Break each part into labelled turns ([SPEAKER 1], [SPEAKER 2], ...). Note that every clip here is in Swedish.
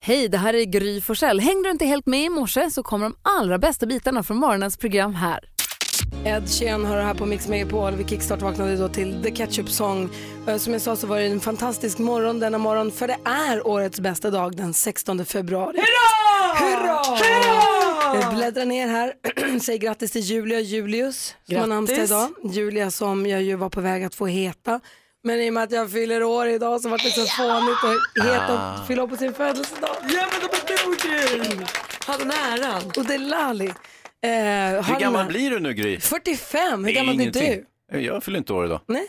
[SPEAKER 1] Hej, det här är Gry Forssell. Hängde du inte helt med i morse så kommer de allra bästa bitarna från morgonens program här.
[SPEAKER 2] Ed Sheeran har det här på Mix Megapol. Vi kickstart-vaknade då till The Ketchup Song. Eh, Som jag sa så var det en fantastisk morgon denna morgon för det är årets bästa dag den 16 februari. Hurra! Hurra! Jag bläddrar ner här. Säger grattis till Julia Julius som har namnsdag idag. Julia som jag ju var på väg att få heta. Men i och med att jag fyller år idag så vart det så fånigt att heta
[SPEAKER 3] Ah.
[SPEAKER 2] och fylla på sin födelsedag.
[SPEAKER 4] Ja men de är Ha den äran.
[SPEAKER 2] Och det är Lali. Eh,
[SPEAKER 3] Hur gammal blir du nu Gry?
[SPEAKER 2] 45, hur
[SPEAKER 3] Det är
[SPEAKER 2] gammal blir
[SPEAKER 3] ingenting.
[SPEAKER 2] du?
[SPEAKER 3] Jag fyller inte år idag.
[SPEAKER 2] Nej,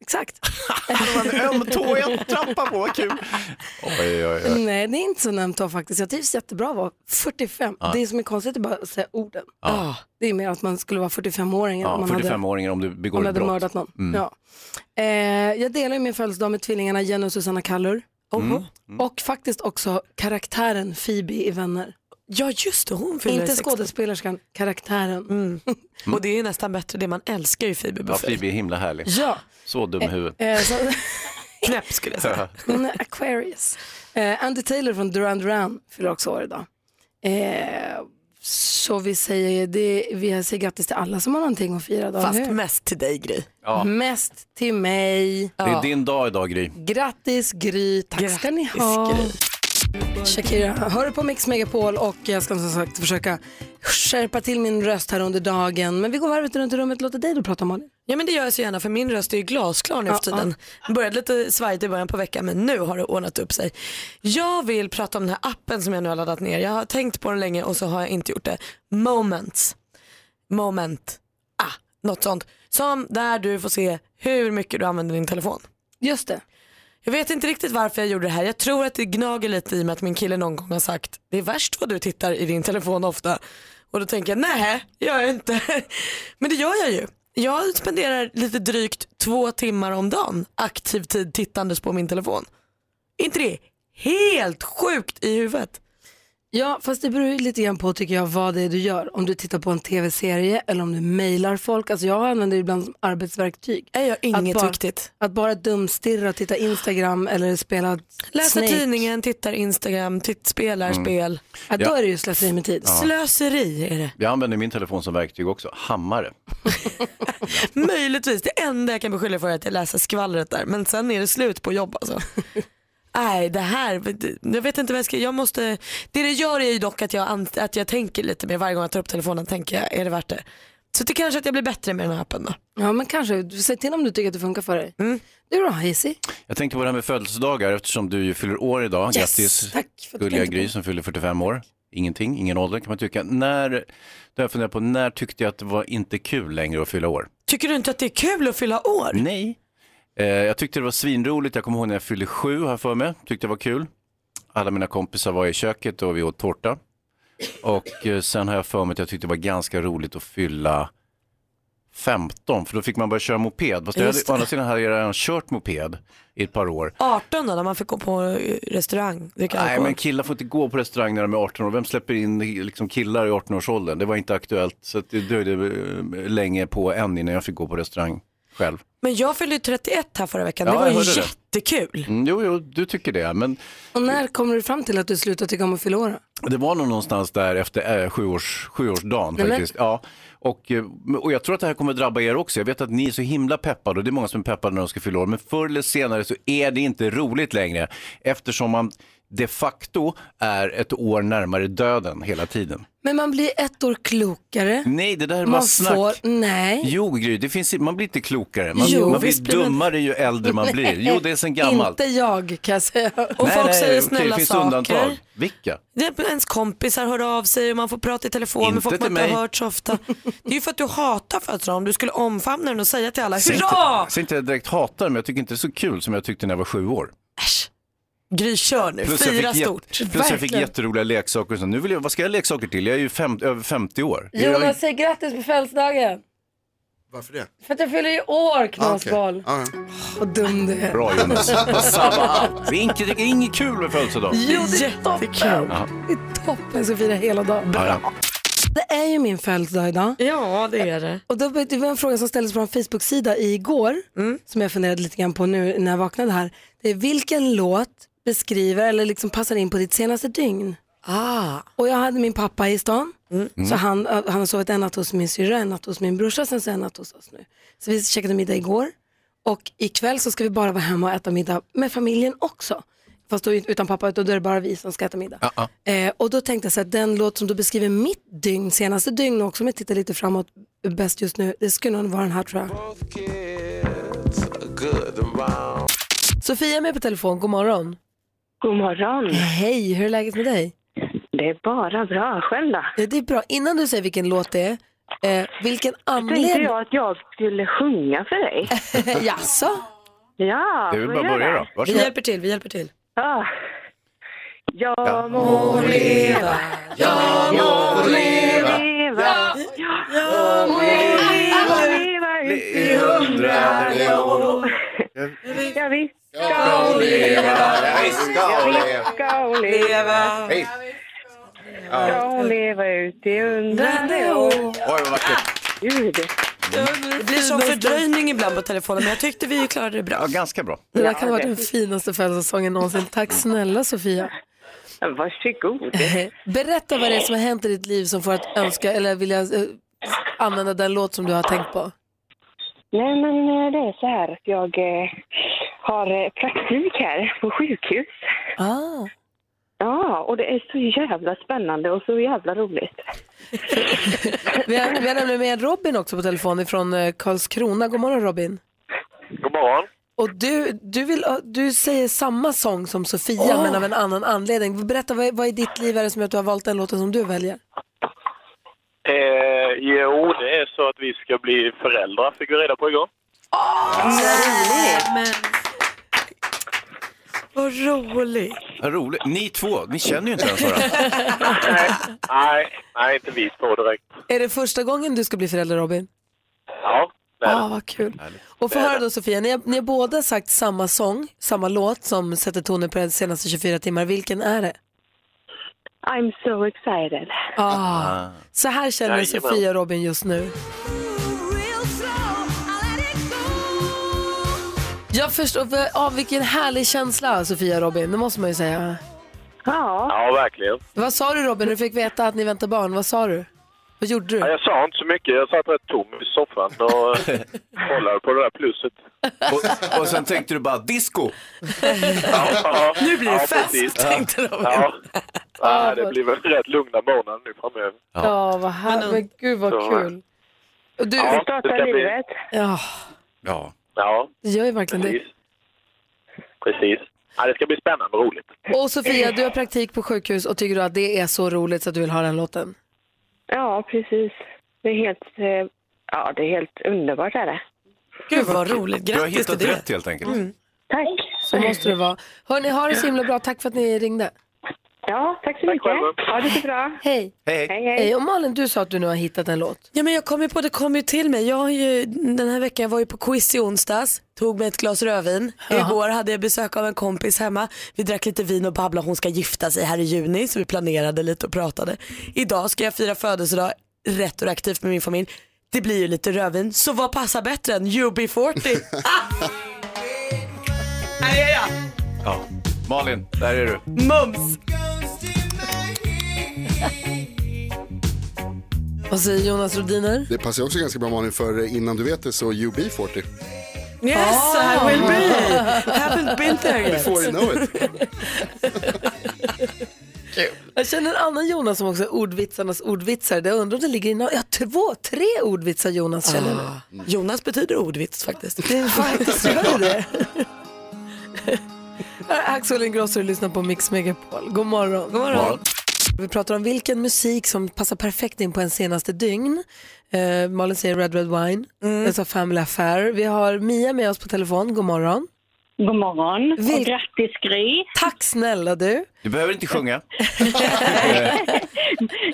[SPEAKER 2] exakt.
[SPEAKER 3] Det var en öm tå jag trappade på, vad kul. Oj, oj, oj.
[SPEAKER 2] Nej, det är inte så ömt att faktiskt. Jag trivs jättebra att vara 45. Det som är konstigt är bara att säga orden. Ah, Det är mer att man skulle vara 45-åring. än om
[SPEAKER 3] Ja,
[SPEAKER 2] man hade-
[SPEAKER 3] 45-åringar om du begår
[SPEAKER 2] Om jag
[SPEAKER 3] ett
[SPEAKER 2] hade
[SPEAKER 3] brott. Mm.
[SPEAKER 2] mördat någon. Ja. Eh, jag delar ju min födelsedag med tvillingarna Jenny och Susanna Kallur.
[SPEAKER 3] Mm.
[SPEAKER 2] Och faktiskt också karaktären Phoebe i Vänner.
[SPEAKER 4] Ja just det, hon fyller
[SPEAKER 2] Inte
[SPEAKER 4] 16.
[SPEAKER 2] skådespelerskan, karaktären.
[SPEAKER 4] Mm. Och det är nästan bättre det, man älskar ju Phoebe
[SPEAKER 3] Ja,
[SPEAKER 4] Buffett.
[SPEAKER 3] Phoebe är himla härlig.
[SPEAKER 2] Ja.
[SPEAKER 3] Så dum i huvudet.
[SPEAKER 2] Eh, så,
[SPEAKER 4] Knäpp skulle jag säga.
[SPEAKER 2] hon är Aquarius. Eh, Andy Taylor från Duran Duran fyller också år idag. Eh, så vi säger, det, vi säger grattis till alla som har någonting att fira. Då, eller
[SPEAKER 4] Fast
[SPEAKER 2] hur?
[SPEAKER 4] mest till dig Gry.
[SPEAKER 3] Ja.
[SPEAKER 2] Mest till mig.
[SPEAKER 3] Det är din dag idag Gry.
[SPEAKER 2] Grattis Gry, tack ska ni
[SPEAKER 4] Grattis,
[SPEAKER 2] ha.
[SPEAKER 4] Gry.
[SPEAKER 2] Shakira, hör på Mix Megapol och jag ska som sagt försöka skärpa till min röst här under dagen. Men vi går varvet runt i rummet, låter dig då prata Malin.
[SPEAKER 4] Ja men det gör jag så gärna för min röst är ju glasklar nu för tiden. Började lite svajigt i början på veckan men nu har det ordnat upp sig. Jag vill prata om den här appen som jag nu har laddat ner. Jag har tänkt på den länge och så har jag inte gjort det. Moments. Moment. Ah, något sånt. Som där du får se hur mycket du använder din telefon.
[SPEAKER 2] Just det.
[SPEAKER 4] Jag vet inte riktigt varför jag gjorde det här. Jag tror att det gnager lite i mig att min kille någon gång har sagt det är värst vad du tittar i din telefon ofta. Och då tänker jag nej, gör jag inte. Men det gör jag ju. Jag spenderar lite drygt två timmar om dagen aktiv tid tittandes på min telefon. inte det helt sjukt i huvudet?
[SPEAKER 2] Ja, fast det beror ju lite grann på tycker jag vad det är du gör. Om du tittar på en tv-serie eller om du mejlar folk. Alltså jag använder det ibland som arbetsverktyg.
[SPEAKER 4] Jag gör inget
[SPEAKER 2] att bara,
[SPEAKER 4] viktigt.
[SPEAKER 2] Att bara dumstirra, titta Instagram eller spela
[SPEAKER 4] Läser
[SPEAKER 2] Snake.
[SPEAKER 4] tidningen, tittar Instagram, titt, spelar
[SPEAKER 3] Mm.
[SPEAKER 4] spel.
[SPEAKER 2] Ja, då
[SPEAKER 3] Ja.
[SPEAKER 2] är det ju slöseri med tid.
[SPEAKER 4] Slöseri är det.
[SPEAKER 3] Jag använder min telefon som verktyg också. Hammare.
[SPEAKER 4] Möjligtvis. Det enda jag kan beskylla för är att jag läser skvallret där. Men sen är det slut på jobb alltså. Nej, det här, jag vet inte vad jag ska, jag måste, det det gör är ju dock att jag, an- att jag tänker lite mer varje gång jag tar upp telefonen, tänker jag, är det värt det? Så det kanske att jag blir bättre med den här appen då.
[SPEAKER 2] Ja, men kanske. Du- Säg till om du tycker att det funkar för dig.
[SPEAKER 4] Mm.
[SPEAKER 2] Du då, Hazy?
[SPEAKER 3] Jag tänkte på det här med födelsedagar eftersom du ju fyller år idag. Grattis
[SPEAKER 2] Tack för att du
[SPEAKER 3] gulliga
[SPEAKER 2] tänkte på
[SPEAKER 3] Gry som fyller 45 år. Ingenting, ingen ålder kan man tycka. När, då har jag funderat på, när tyckte jag att det var inte kul längre att fylla år?
[SPEAKER 4] Tycker du inte att det är kul att fylla år?
[SPEAKER 3] Nej. Eh, jag tyckte det var svinroligt. Jag kommer ihåg när jag fyllde sju, har jag för mig. Tyckte det var kul. Alla mina kompisar var i köket och vi åt tårta. Och eh, sen har jag för mig att jag tyckte det var ganska roligt att fylla 15, för då fick man börja köra moped. Fast jag hade,
[SPEAKER 4] Just det.
[SPEAKER 3] å andra sidan hade jag redan kört moped i ett par år.
[SPEAKER 4] 18 då, när man fick gå på eh, restaurang, dricka
[SPEAKER 3] Nej,
[SPEAKER 4] alkohol.
[SPEAKER 3] men killar får inte gå på restaurang när de är 18 år. Vem släpper in liksom, killar i 18-årsåldern? Det var inte aktuellt, så att det dröjde eh, länge på än innan jag fick gå på restaurang själv.
[SPEAKER 4] Men jag fyllde ju 31 här förra veckan,
[SPEAKER 3] Ja,
[SPEAKER 4] det var
[SPEAKER 3] jag
[SPEAKER 4] ju
[SPEAKER 3] hörde det.
[SPEAKER 4] jättekul.
[SPEAKER 3] Mm, jo, jo, du tycker det, men
[SPEAKER 2] Och när kommer du fram till att du slutar tycka om att fylla år? då?
[SPEAKER 3] Det var nog någonstans där efter eh, sjuårs, sjuårsdagen
[SPEAKER 2] men-
[SPEAKER 3] faktiskt. Ja. Och, eh, och jag tror att det här kommer drabba er också. Jag vet att ni är så himla peppade och det är många som är peppade när de ska fylla år. Men förr eller senare så är det inte roligt längre eftersom man de facto är ett år närmare döden hela tiden.
[SPEAKER 2] Men man blir ett år klokare.
[SPEAKER 3] Nej, det där är bara
[SPEAKER 2] Man
[SPEAKER 3] snack.
[SPEAKER 2] får, nej.
[SPEAKER 3] Jo, Gry, det finns, man blir inte klokare. Man,
[SPEAKER 2] Jo,
[SPEAKER 3] man blir
[SPEAKER 4] visst blir man-
[SPEAKER 3] dummare ju äldre man blir. Jo, det är sen gammalt.
[SPEAKER 2] Inte jag kan jag säga.
[SPEAKER 4] Och folk säger
[SPEAKER 3] okej,
[SPEAKER 4] snälla
[SPEAKER 3] det finns
[SPEAKER 4] saker.
[SPEAKER 3] undantag. Vilka?
[SPEAKER 4] Det är ens kompisar hör av sig och man får prata i telefon
[SPEAKER 3] Inte
[SPEAKER 4] med folk man
[SPEAKER 3] till
[SPEAKER 4] inte
[SPEAKER 3] mig.
[SPEAKER 4] har hört så ofta. Det är ju för att du hatar födelsedag. Om du skulle omfamna den och säga till alla
[SPEAKER 3] Säg inte,
[SPEAKER 4] hurra!
[SPEAKER 3] säg inte att jag direkt hatar men jag tycker inte det är så kul som jag tyckte när jag var sju år.
[SPEAKER 4] Äsch. Gry kör nu,
[SPEAKER 3] Plus jag,
[SPEAKER 4] fira
[SPEAKER 3] fick
[SPEAKER 4] stort.
[SPEAKER 3] jätte- plus jag fick jätteroliga leksaker. och sånt. Nu vill jag, vad ska jag ha leksaker till? Jag är ju fem, över 50 år. Jag-
[SPEAKER 2] Jonas, säg grattis på födelsedagen.
[SPEAKER 5] Varför det?
[SPEAKER 2] För att jag fyller i år,
[SPEAKER 5] Ah,
[SPEAKER 2] knasboll.
[SPEAKER 5] okej. Ah,
[SPEAKER 2] Vad dum du är.
[SPEAKER 3] Bra Jonas. Sabba allt. Det är inget, det är inget kul med födelsedag.
[SPEAKER 2] Jo, det är
[SPEAKER 4] Jättekul.
[SPEAKER 2] toppen. Det är toppen. Jag ska fira hela dagen.
[SPEAKER 3] Ja, ja.
[SPEAKER 2] Det är ju min födelsedag idag.
[SPEAKER 4] Ja, det är det.
[SPEAKER 2] Och då, det var en fråga som ställdes på en
[SPEAKER 4] Mm.
[SPEAKER 2] Facebook-sida igår, som jag funderade lite grann på nu när jag vaknade här. Det är vilken låt beskriver eller liksom passar in på ditt senaste dygn.
[SPEAKER 4] Ah, Mm.
[SPEAKER 2] Och jag hade min pappa i stan. Så han, han har sovit en natt hos min syrra, en natt hos min brorsa, sen så en natt hos oss nu. Så vi käkade middag igår. Och ikväll så ska vi bara vara hemma och äta middag med familjen också. Fast då ut- utan pappa, då är det bara vi som ska äta middag.
[SPEAKER 3] Ah,
[SPEAKER 2] Eh, och då tänkte jag så att den låt som du beskriver mitt dygn, senaste dygn också, om jag tittar lite framåt, bäst just nu, det skulle nog vara den här tror jag.
[SPEAKER 5] Both kids are good and round.
[SPEAKER 2] Sofia är med på telefon, god morgon.
[SPEAKER 6] God morgon.
[SPEAKER 2] Hej, hur är läget med dig?
[SPEAKER 6] Det är bara bra. Själv då?
[SPEAKER 2] Ja, det är bra, innan du säger vilken låt det är, eh, vilken
[SPEAKER 6] Tänkte
[SPEAKER 2] anledning...
[SPEAKER 6] jag att jag skulle sjunga för dig.
[SPEAKER 2] Jaså?
[SPEAKER 6] Ja,
[SPEAKER 3] det är
[SPEAKER 6] vad
[SPEAKER 3] väl bara
[SPEAKER 6] gör
[SPEAKER 3] att börja
[SPEAKER 6] det?
[SPEAKER 3] då.
[SPEAKER 4] vi
[SPEAKER 3] Varsågod.
[SPEAKER 4] hjälper till, vi hjälper till.
[SPEAKER 6] Ja. Jag må leva, jag må leva, jag må leva ut i hundrade år. Ja, vi ska leva, vi ska leva, ska hon leva.
[SPEAKER 7] Oh.
[SPEAKER 6] Ska hon leva ut i hundrade år.
[SPEAKER 3] Oj, vad vackert.
[SPEAKER 6] Gud.
[SPEAKER 4] Det blir som fördröjning ibland på telefonen men jag tyckte vi klarade det
[SPEAKER 3] Ja,
[SPEAKER 4] bra.
[SPEAKER 3] ganska bra.
[SPEAKER 2] Det där kan vara den finaste födelsedagssången någonsin. Tack snälla Sofia.
[SPEAKER 6] Varsågod.
[SPEAKER 2] Berätta vad det är som har hänt i ditt liv som får att önska eller vilja eh, använda den låt som du har tänkt på.
[SPEAKER 6] Nej, men eh, det är så här att jag eh, har eh, praktik här på sjukhus.
[SPEAKER 2] Ah.
[SPEAKER 6] Ja, och det är så jävla spännande och så jävla roligt.
[SPEAKER 2] Vi, har, vi har nämligen med Robin också på telefon från Karlskrona. God morgon Robin.
[SPEAKER 8] God morgon.
[SPEAKER 2] Och du, du, vill, eh, du säger samma sång som Sofia men av en annan anledning. Berätta vad, är- vad i ditt liv är det som gör att du har valt den låten som du väljer?
[SPEAKER 8] Eh, jo, det är så att vi ska bli föräldrar, fick vi reda på igår.
[SPEAKER 4] Vad roligt.
[SPEAKER 3] Vad roligt. Ni två, ni känner ju inte ens varandra.
[SPEAKER 8] Nej, nej, nej inte vi två direkt.
[SPEAKER 2] Är det första gången du ska bli förälder Robin?
[SPEAKER 8] Ja, det är
[SPEAKER 2] Ja, ah,
[SPEAKER 8] det.
[SPEAKER 2] vad kul. Och få höra då Sofia, ni har, ni har båda sagt samma sång, samma låt som sätter tonen på de senaste 24 timmar. Vilken är det?
[SPEAKER 6] I'm so excited.
[SPEAKER 2] Ah, så här känner
[SPEAKER 8] Jajamän.
[SPEAKER 2] Sofia och Robin just nu. Jag förstår, v- ah, vilken härlig känsla Sofia och Robin, det måste man ju säga.
[SPEAKER 6] Ja,
[SPEAKER 8] Ja, verkligen.
[SPEAKER 2] Vad sa du Robin när du fick veta att ni väntar barn? Vad sa du? Vad gjorde
[SPEAKER 8] Ja,
[SPEAKER 2] du?
[SPEAKER 8] jag sa inte så mycket. Jag satt rätt tom i soffan och kollade på det där plusset.
[SPEAKER 3] Och, och sen tänkte du bara disco.
[SPEAKER 8] Ja,
[SPEAKER 4] Nu blir det
[SPEAKER 8] ja,
[SPEAKER 4] fest
[SPEAKER 8] precis.
[SPEAKER 4] tänkte de.
[SPEAKER 8] Ja. Nej, det blir väl rätt lugna månader nu framöver.
[SPEAKER 2] Ja, vad härligt. Men gud vad
[SPEAKER 8] Så-
[SPEAKER 2] kul. Och du,
[SPEAKER 8] Ja.
[SPEAKER 6] starta
[SPEAKER 8] det ska bli-
[SPEAKER 6] livet.
[SPEAKER 2] ja,
[SPEAKER 3] Ja.
[SPEAKER 8] Ja,
[SPEAKER 2] det gör ju verkligen det.
[SPEAKER 8] precis. Precis. Ja, det ska bli spännande och roligt.
[SPEAKER 2] Och Sofia, du har praktik på sjukhus och tycker du att det är så roligt så att du vill ha den låten?
[SPEAKER 6] Ja, precis. Det är helt, eh, ja, det är helt underbart är det.
[SPEAKER 4] Gud vad roligt,
[SPEAKER 3] Du har
[SPEAKER 4] grattis till
[SPEAKER 3] hittat
[SPEAKER 4] det. Mm.
[SPEAKER 3] rätt helt enkelt.
[SPEAKER 6] Tack.
[SPEAKER 2] Så måste det vara. Hörni, ha det så himla bra. Tack för att ni ringde.
[SPEAKER 6] Ja, tack så mycket.
[SPEAKER 8] själva.
[SPEAKER 6] Ha det så bra.
[SPEAKER 2] Hej.
[SPEAKER 3] Hej, hej.
[SPEAKER 6] Hej,
[SPEAKER 2] Hej.
[SPEAKER 6] hej.
[SPEAKER 2] Och Malin, du sa att du nu har hittat en låt.
[SPEAKER 4] Ja men jag kom ju på, det kom ju till mig. Jag har ju, den här veckan jag var ju på quiz i onsdags, tog mig ett glas rödvin. Igår hade jag besök av en kompis hemma. Vi drack lite vin och babblade, hon ska gifta sig här i juni så vi planerade lite och pratade. Idag ska jag fira födelsedag retroaktivt med min familj. Det blir ju lite rödvin, så vad passar bättre än UB40? ah! Här är jag,
[SPEAKER 3] Ja. Malin, där är du.
[SPEAKER 4] mums!
[SPEAKER 2] Vad säger Jonas Rodiner?
[SPEAKER 9] Det passar ju också ganska bra Malin för eh, innan du vet det så UB40.
[SPEAKER 4] Yes
[SPEAKER 2] Ah.
[SPEAKER 4] I will be, haven't been there yet.
[SPEAKER 9] Får you know it.
[SPEAKER 2] Jag känner en annan Jonas som också är ordvitsarnas ordvitsare. Jag undrar om det ligger i någon... Ja, två, tre ordvitsar Jonas känner jag nu.
[SPEAKER 4] Ah. Jonas betyder ordvits faktiskt.
[SPEAKER 2] Det är faktiskt gör det. Här är Axel Ingrosso och lyssnar på Mix Megapol. God morgon. God
[SPEAKER 3] morgon.
[SPEAKER 2] Vi pratar om vilken musik som passar perfekt in på en senaste dygn. Eh, Malin säger Red Red Wine,
[SPEAKER 10] Mm.
[SPEAKER 2] jag sa Family Affair. Vi har Mia med oss på telefon, god morgon.
[SPEAKER 10] God morgon
[SPEAKER 2] Vil-
[SPEAKER 10] och grattis Gry.
[SPEAKER 2] Tack snälla du.
[SPEAKER 3] Du behöver inte sjunga.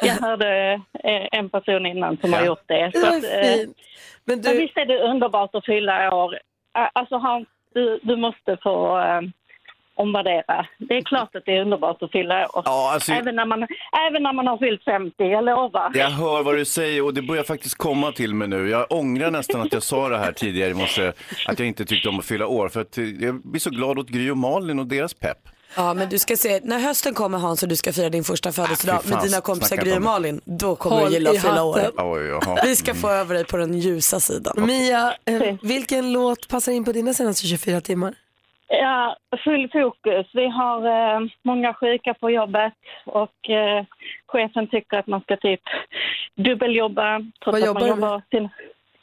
[SPEAKER 10] Jag hörde eh, en person innan som
[SPEAKER 3] Ja.
[SPEAKER 10] har gjort det.
[SPEAKER 2] Det
[SPEAKER 10] Så
[SPEAKER 2] var
[SPEAKER 10] att, eh,
[SPEAKER 2] fint. Men
[SPEAKER 10] men
[SPEAKER 2] du,
[SPEAKER 10] visst är det underbart att fylla år. Eh, Alltså Hans, du, du måste få eh, omvärdera. Det är klart att det är underbart att fylla år.
[SPEAKER 3] Ja, alltså,
[SPEAKER 10] Även när, man, även när man har fyllt 50, jag lovar.
[SPEAKER 3] jag hör vad du säger och det börjar faktiskt komma till mig nu. Jag ångrar nästan att jag sa det här tidigare i morse, att jag inte tyckte om att fylla år. För att eh, jag blir så glad åt Gry och Malin och deras pepp.
[SPEAKER 4] Ja men du ska se, när hösten kommer Hans och du ska fira din första födelsedag
[SPEAKER 3] Ah, fy fan,
[SPEAKER 4] med dina kompisar
[SPEAKER 3] snacka
[SPEAKER 4] Gry och
[SPEAKER 3] om-
[SPEAKER 4] Malin, då kommer
[SPEAKER 2] Håll
[SPEAKER 4] du gilla
[SPEAKER 2] i
[SPEAKER 4] att fylla år.
[SPEAKER 2] hatten.
[SPEAKER 3] Oj, jaha.
[SPEAKER 4] Vi ska få över dig på den ljusa sidan.
[SPEAKER 2] Mia, eh, vilken låt passar in på dina senaste 24 timmar?
[SPEAKER 10] Ja, full fokus. Vi har eh, många sjuka på jobbet och eh, chefen tycker att man ska typ dubbeljobba
[SPEAKER 2] Vad
[SPEAKER 10] trots att
[SPEAKER 2] jobbar
[SPEAKER 10] man
[SPEAKER 2] du
[SPEAKER 10] jobbar sin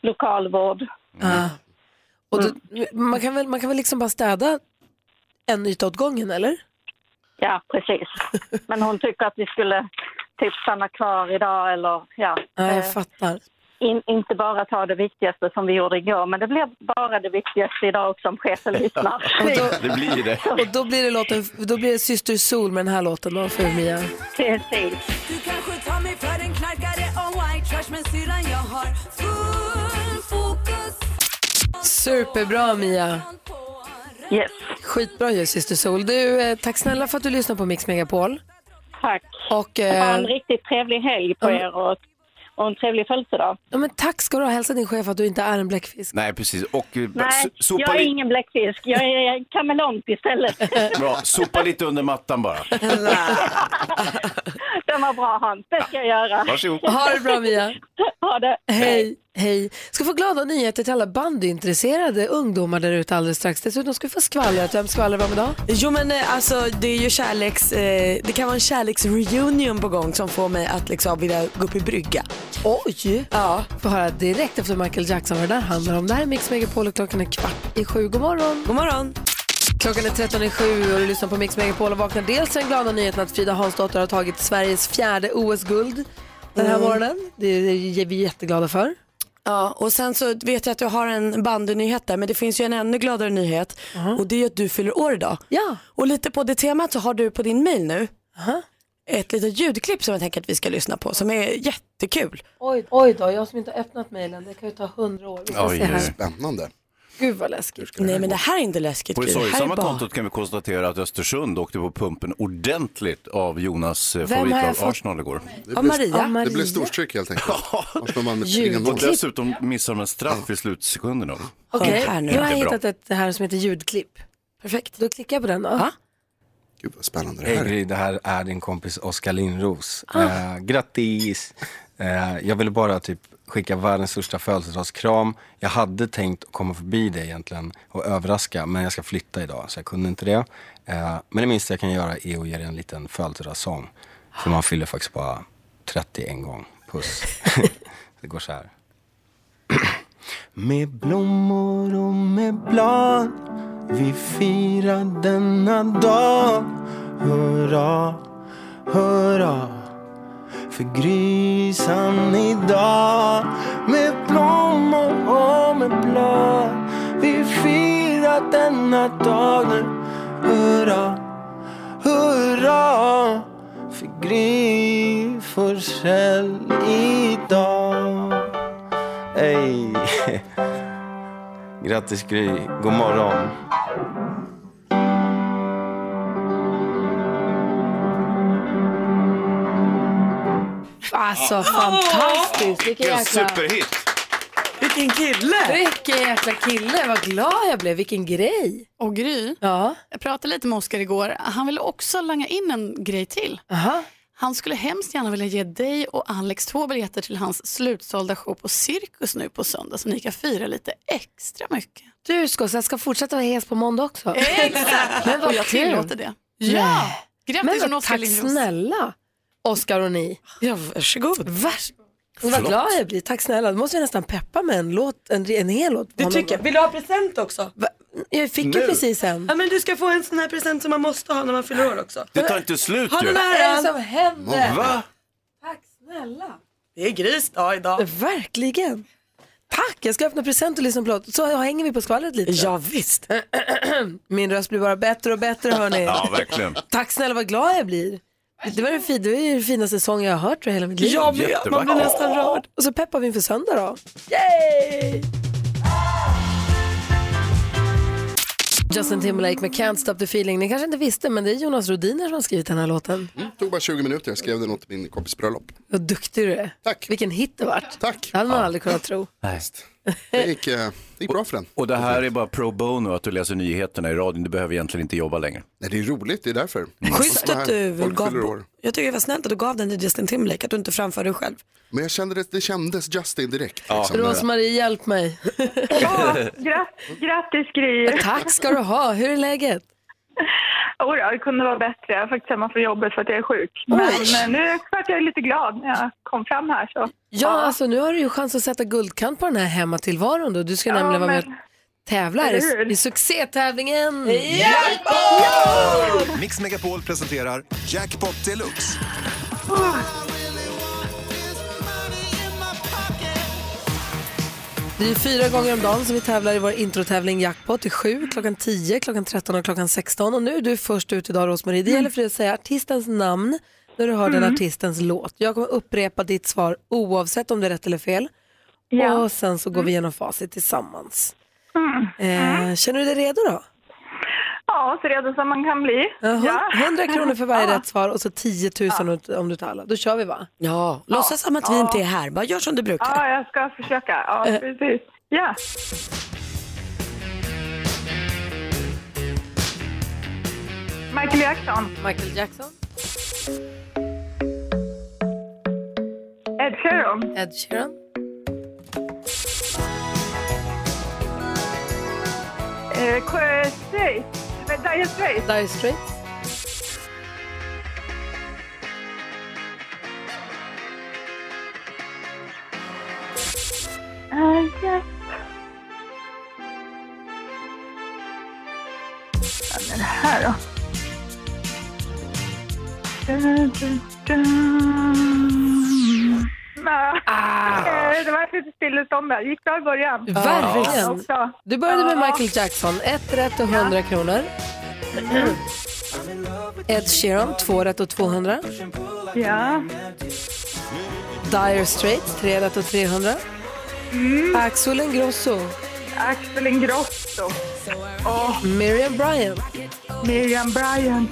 [SPEAKER 10] lokalvård.
[SPEAKER 2] Ah. Och då, man, kan väl, man kan väl liksom bara städa en yta åt gången eller?
[SPEAKER 10] Ja, precis. Men hon tycker att vi skulle typ stanna kvar idag eller ja,
[SPEAKER 2] Ja,
[SPEAKER 10] eh,
[SPEAKER 2] jag fattar.
[SPEAKER 10] in, inte bara ta det viktigaste som vi gjorde igår, men det blev bara det viktigaste idag också om chefen lyssnar.
[SPEAKER 3] Det blir det.
[SPEAKER 2] Och då blir det, låten, då blir det Syster Sol med den här låten då för Mia.
[SPEAKER 10] Precis.
[SPEAKER 11] Du kanske tar mig för en knarkare och white trash men syrran jag har full fokus
[SPEAKER 2] Superbra Mia.
[SPEAKER 10] Yes,
[SPEAKER 2] Skitbra ju Syster Sol. Du, eh, tack snälla för att du lyssnar på Mix Megapol.
[SPEAKER 10] tack.
[SPEAKER 2] Och,
[SPEAKER 10] Ha
[SPEAKER 2] eh,
[SPEAKER 10] en riktigt trevlig helg på er och, och en trevlig födelsedag.
[SPEAKER 2] ja, men tack ska du ha. Hälsa din chef att du inte är en bläckfisk.
[SPEAKER 3] Nej, precis. Och eh,
[SPEAKER 10] Nej,
[SPEAKER 3] so- sopa,
[SPEAKER 10] jag är
[SPEAKER 3] li-
[SPEAKER 10] ingen bläckfisk. Jag är kameleont istället.
[SPEAKER 3] Bra. sopa lite under mattan bara.
[SPEAKER 10] Den var bra Hans, det ska jag göra.
[SPEAKER 3] Varsågod.
[SPEAKER 2] Ha det bra Mia.
[SPEAKER 10] Ha det.
[SPEAKER 2] Hej, hej. Ska få glada nyheter till alla bandyintresserade ungdomar där ute alldeles strax. Dessutom ska vi få skvallret. Vem skvallrar vi om idag?
[SPEAKER 4] Jo men eh, alltså det är ju kärleks, eh, det kan vara en kärleksreunion på gång som får mig att liksom vilja gå upp i brygga.
[SPEAKER 2] Oj!
[SPEAKER 4] Ja.
[SPEAKER 2] Får höra direkt efter Michael Jackson vad det där handlar om. Det här är Mix Megapol och klockan är kvart i sju. God morgon!
[SPEAKER 4] God morgon.
[SPEAKER 2] Klockan är 13 i sju och du lyssnar på Mix Megapol och vaknar dels till den glada nyheten att Frida Hansdotter har tagit Sveriges fjärde OS-guld den här morgonen. Det är vi jätteglada för.
[SPEAKER 4] Ja och sen så vet jag att du har en bandynyhet där men det finns ju en ännu gladare nyhet och det är ju att du fyller år idag.
[SPEAKER 2] Ja.
[SPEAKER 4] Och lite på det temat så har du på din mail nu ett litet ljudklipp som jag tänker att vi ska lyssna på som är jättekul.
[SPEAKER 2] Oj, oj då, jag som inte har öppnat mejlen. Det kan ju ta hundra år. Vi ska
[SPEAKER 3] Oj,
[SPEAKER 2] se här.
[SPEAKER 3] oj.
[SPEAKER 9] Spännande.
[SPEAKER 2] Gud vad läskigt.
[SPEAKER 4] Nej men det här är inte läskigt.
[SPEAKER 3] På det
[SPEAKER 4] Gry. Det här är
[SPEAKER 3] sorgsamma
[SPEAKER 4] bara-
[SPEAKER 3] kontot kan vi konstatera att Östersund åkte på pumpen ordentligt av Jonas eh,
[SPEAKER 2] har jag
[SPEAKER 3] favoritlag
[SPEAKER 2] fått?
[SPEAKER 3] Arsenal igår.
[SPEAKER 4] Ja,
[SPEAKER 9] blir-
[SPEAKER 4] Maria.
[SPEAKER 2] Ja, Maria.
[SPEAKER 9] Det blev storstryk helt enkelt. Arsenal vann med 3-0.
[SPEAKER 3] Och dessutom missar de en straff i slutsekunderna.
[SPEAKER 2] Okej,
[SPEAKER 4] Hör här nu.
[SPEAKER 2] nu har jag
[SPEAKER 3] Jättebra.
[SPEAKER 2] hittat ett här som heter ljudklipp. Perfekt. Då klickar jag på den då.
[SPEAKER 9] Gud vad spännande det här är.
[SPEAKER 5] det här är din kompis Oskar Lindros.
[SPEAKER 12] Ah.
[SPEAKER 5] Eh, grattis! Eh, jag ville bara typ skicka världens största födelsedagskram. Jag hade tänkt komma förbi dig egentligen och överraska, men jag ska flytta idag så jag kunde inte det. Eh, men det minsta jag kan göra är att ge dig en liten födelsedagssång. För man fyller faktiskt bara 30 en gång. Puss. det går så här. Med blommor och med blad vi firar denna dag Hurra, hurra för grisan idag Med blommor och med blad Vi firar denna dag nu Hurra, hurra för Gry Forssell idag Ey. Grattis Gry, god morgon.
[SPEAKER 2] Alltså fantastiskt. Vilken
[SPEAKER 3] Vilken
[SPEAKER 2] jäkla,
[SPEAKER 3] superhit!
[SPEAKER 4] Vilken kille!
[SPEAKER 2] vilken jäkla kille. Vad glad jag blev. Vilken grej.
[SPEAKER 13] Och Gry,
[SPEAKER 2] Ja.
[SPEAKER 13] jag pratade lite med Oskar igår. Han ville också langa in en grej till.
[SPEAKER 2] Aha.
[SPEAKER 13] Han skulle hemskt gärna vilja ge dig och Alex två biljetter till hans slutsålda show på Cirkus nu på söndag så ni kan fira lite extra mycket.
[SPEAKER 2] Du ska, så jag ska fortsätta vara hes på måndag också.
[SPEAKER 13] Exakt!
[SPEAKER 2] Men vad
[SPEAKER 13] och jag
[SPEAKER 2] kul.
[SPEAKER 13] tillåter det.
[SPEAKER 2] Nej. Men
[SPEAKER 13] Grattis från
[SPEAKER 2] vad,
[SPEAKER 13] Oskar
[SPEAKER 2] tack
[SPEAKER 13] Lindros.
[SPEAKER 2] snälla Oskar och ni.
[SPEAKER 4] Ja varsågod.
[SPEAKER 2] Vars... Vad glad jag blir. Tack snälla. Då måste jag nästan peppa med en, låt, en, en hel låt. på
[SPEAKER 4] Det
[SPEAKER 2] honom.
[SPEAKER 4] tycker jag. Vill du ha present också?
[SPEAKER 2] Va? Jag fick ju precis en.
[SPEAKER 4] Ja men du ska få en sån här present som man måste ha när man fyller år också.
[SPEAKER 3] Det tar inte slut
[SPEAKER 4] Ha
[SPEAKER 3] ju.
[SPEAKER 4] den
[SPEAKER 2] Vad är det
[SPEAKER 4] här.
[SPEAKER 2] som händer?
[SPEAKER 3] Va?
[SPEAKER 2] Tack snälla.
[SPEAKER 4] Det är Grys dag idag.
[SPEAKER 2] Verkligen. Tack, jag ska öppna present och lyssna på låt. Så hänger vi på skvallret lite.
[SPEAKER 4] Ja, visst.
[SPEAKER 2] Min röst blir bara bättre och bättre hörni.
[SPEAKER 3] Ja, verkligen.
[SPEAKER 2] Tack snälla vad glad jag blir. Det var den, fi- det var ju den finaste sången jag har hört tror jag, hela mitt liv.
[SPEAKER 4] Jag blir,
[SPEAKER 3] Jättevackert.
[SPEAKER 4] man blir nästan rörd.
[SPEAKER 2] Och så peppar vi inför söndag då. Yay! Justin Timberlake med Can't Stop The Feeling.
[SPEAKER 9] Mm,
[SPEAKER 2] Ni kanske inte visste men det är Jonas Rodiner som har skrivit den här låten.
[SPEAKER 9] Det tog bara 20 minuter, jag skrev den åt min kompis bröllop.
[SPEAKER 2] Vad duktig du är. Tack. Vilken hit det vart. Tack. Det hade man aldrig kunnat tro.
[SPEAKER 3] Nej.
[SPEAKER 9] Det gick, eh, det gick bra för den.
[SPEAKER 3] Och det här är bara pro bono att du läser nyheterna i radion. Du behöver egentligen inte jobba längre.
[SPEAKER 9] Nej, det är roligt, det är
[SPEAKER 2] Mm.
[SPEAKER 9] därför.
[SPEAKER 4] Schysst att du
[SPEAKER 9] Mm. Folk fyller
[SPEAKER 4] gav,
[SPEAKER 9] år.
[SPEAKER 4] jag tycker det var snällt att du gav den till Justin Timberlake, att du inte framförde dig själv.
[SPEAKER 9] Men jag kände liksom det, det kändes Justin direkt.
[SPEAKER 4] Ja.
[SPEAKER 2] Rosmarie, hjälp mig.
[SPEAKER 10] Grattis Gry!
[SPEAKER 2] Tack ska du ha. Hur är läget?
[SPEAKER 10] Oh, det kunde vara bättre. Jag är faktiskt hemma från jobbet för att jag är sjuk. Men, men nu vart jag lite glad när jag kom fram här. Så.
[SPEAKER 2] Ja, alltså nu har du ju chans att sätta guldkant på den här hemmatillvaron då. Du ska
[SPEAKER 10] Ja,
[SPEAKER 2] nämligen vara med
[SPEAKER 10] men-
[SPEAKER 2] och tävla här
[SPEAKER 10] Eller hur?
[SPEAKER 2] i, i succétävlingen.
[SPEAKER 14] Mix Megapol presenterar Jackpot Deluxe.
[SPEAKER 2] Det är ju fyra gånger om dagen som vi tävlar i vår introtävling Jackpot. Det är sju, klockan 10, klockan 13 och klockan 16. Och nu är du först ut idag Rosmarie. Det gäller för dig att säga artistens namn när du hör den
[SPEAKER 10] Mm.
[SPEAKER 2] artistens låt. Jag kommer upprepa ditt svar oavsett om det är rätt eller fel.
[SPEAKER 10] Ja.
[SPEAKER 2] Och sen så går vi igenom facit tillsammans.
[SPEAKER 10] Mm.
[SPEAKER 2] Eh, känner du dig redo då?
[SPEAKER 10] Ja, så redo som man kan bli.
[SPEAKER 2] Ja. 100 kronor för varje
[SPEAKER 10] Ja.
[SPEAKER 2] rätt svar och så 10 000 om du tar alla. Då kör vi va?
[SPEAKER 4] Ja, låtsas som att vi inte är här, bara gör som du brukar.
[SPEAKER 10] Ja, jag ska försöka. Ja,
[SPEAKER 2] Eh.
[SPEAKER 10] precis. Ja. Michael Jackson.
[SPEAKER 2] Michael Jackson.
[SPEAKER 10] Ed Sheeran.
[SPEAKER 2] Ed Sheeran.
[SPEAKER 10] Eh, K- Straits. Eh, Dire Straits.
[SPEAKER 2] Dire Straits.
[SPEAKER 10] yes. Ja, men det här då? Dun, dun, dun. Ah. Eh, Det var ett litet stillestånd där. gick bra i början. Ja,
[SPEAKER 2] Verkligen.
[SPEAKER 10] också.
[SPEAKER 2] Du började med
[SPEAKER 10] Ja.
[SPEAKER 2] Michael Jackson. Ett rätt och 100 kronor.
[SPEAKER 4] Mm.
[SPEAKER 2] Ed Sheeran, två rätt och 200.
[SPEAKER 10] Ja.
[SPEAKER 2] Dire Straits, tre rätt och 300. Axel Ingrosso.
[SPEAKER 10] Mm. Axel Ingrosso.
[SPEAKER 2] Miriam Bryant.
[SPEAKER 10] Miriam Bryant.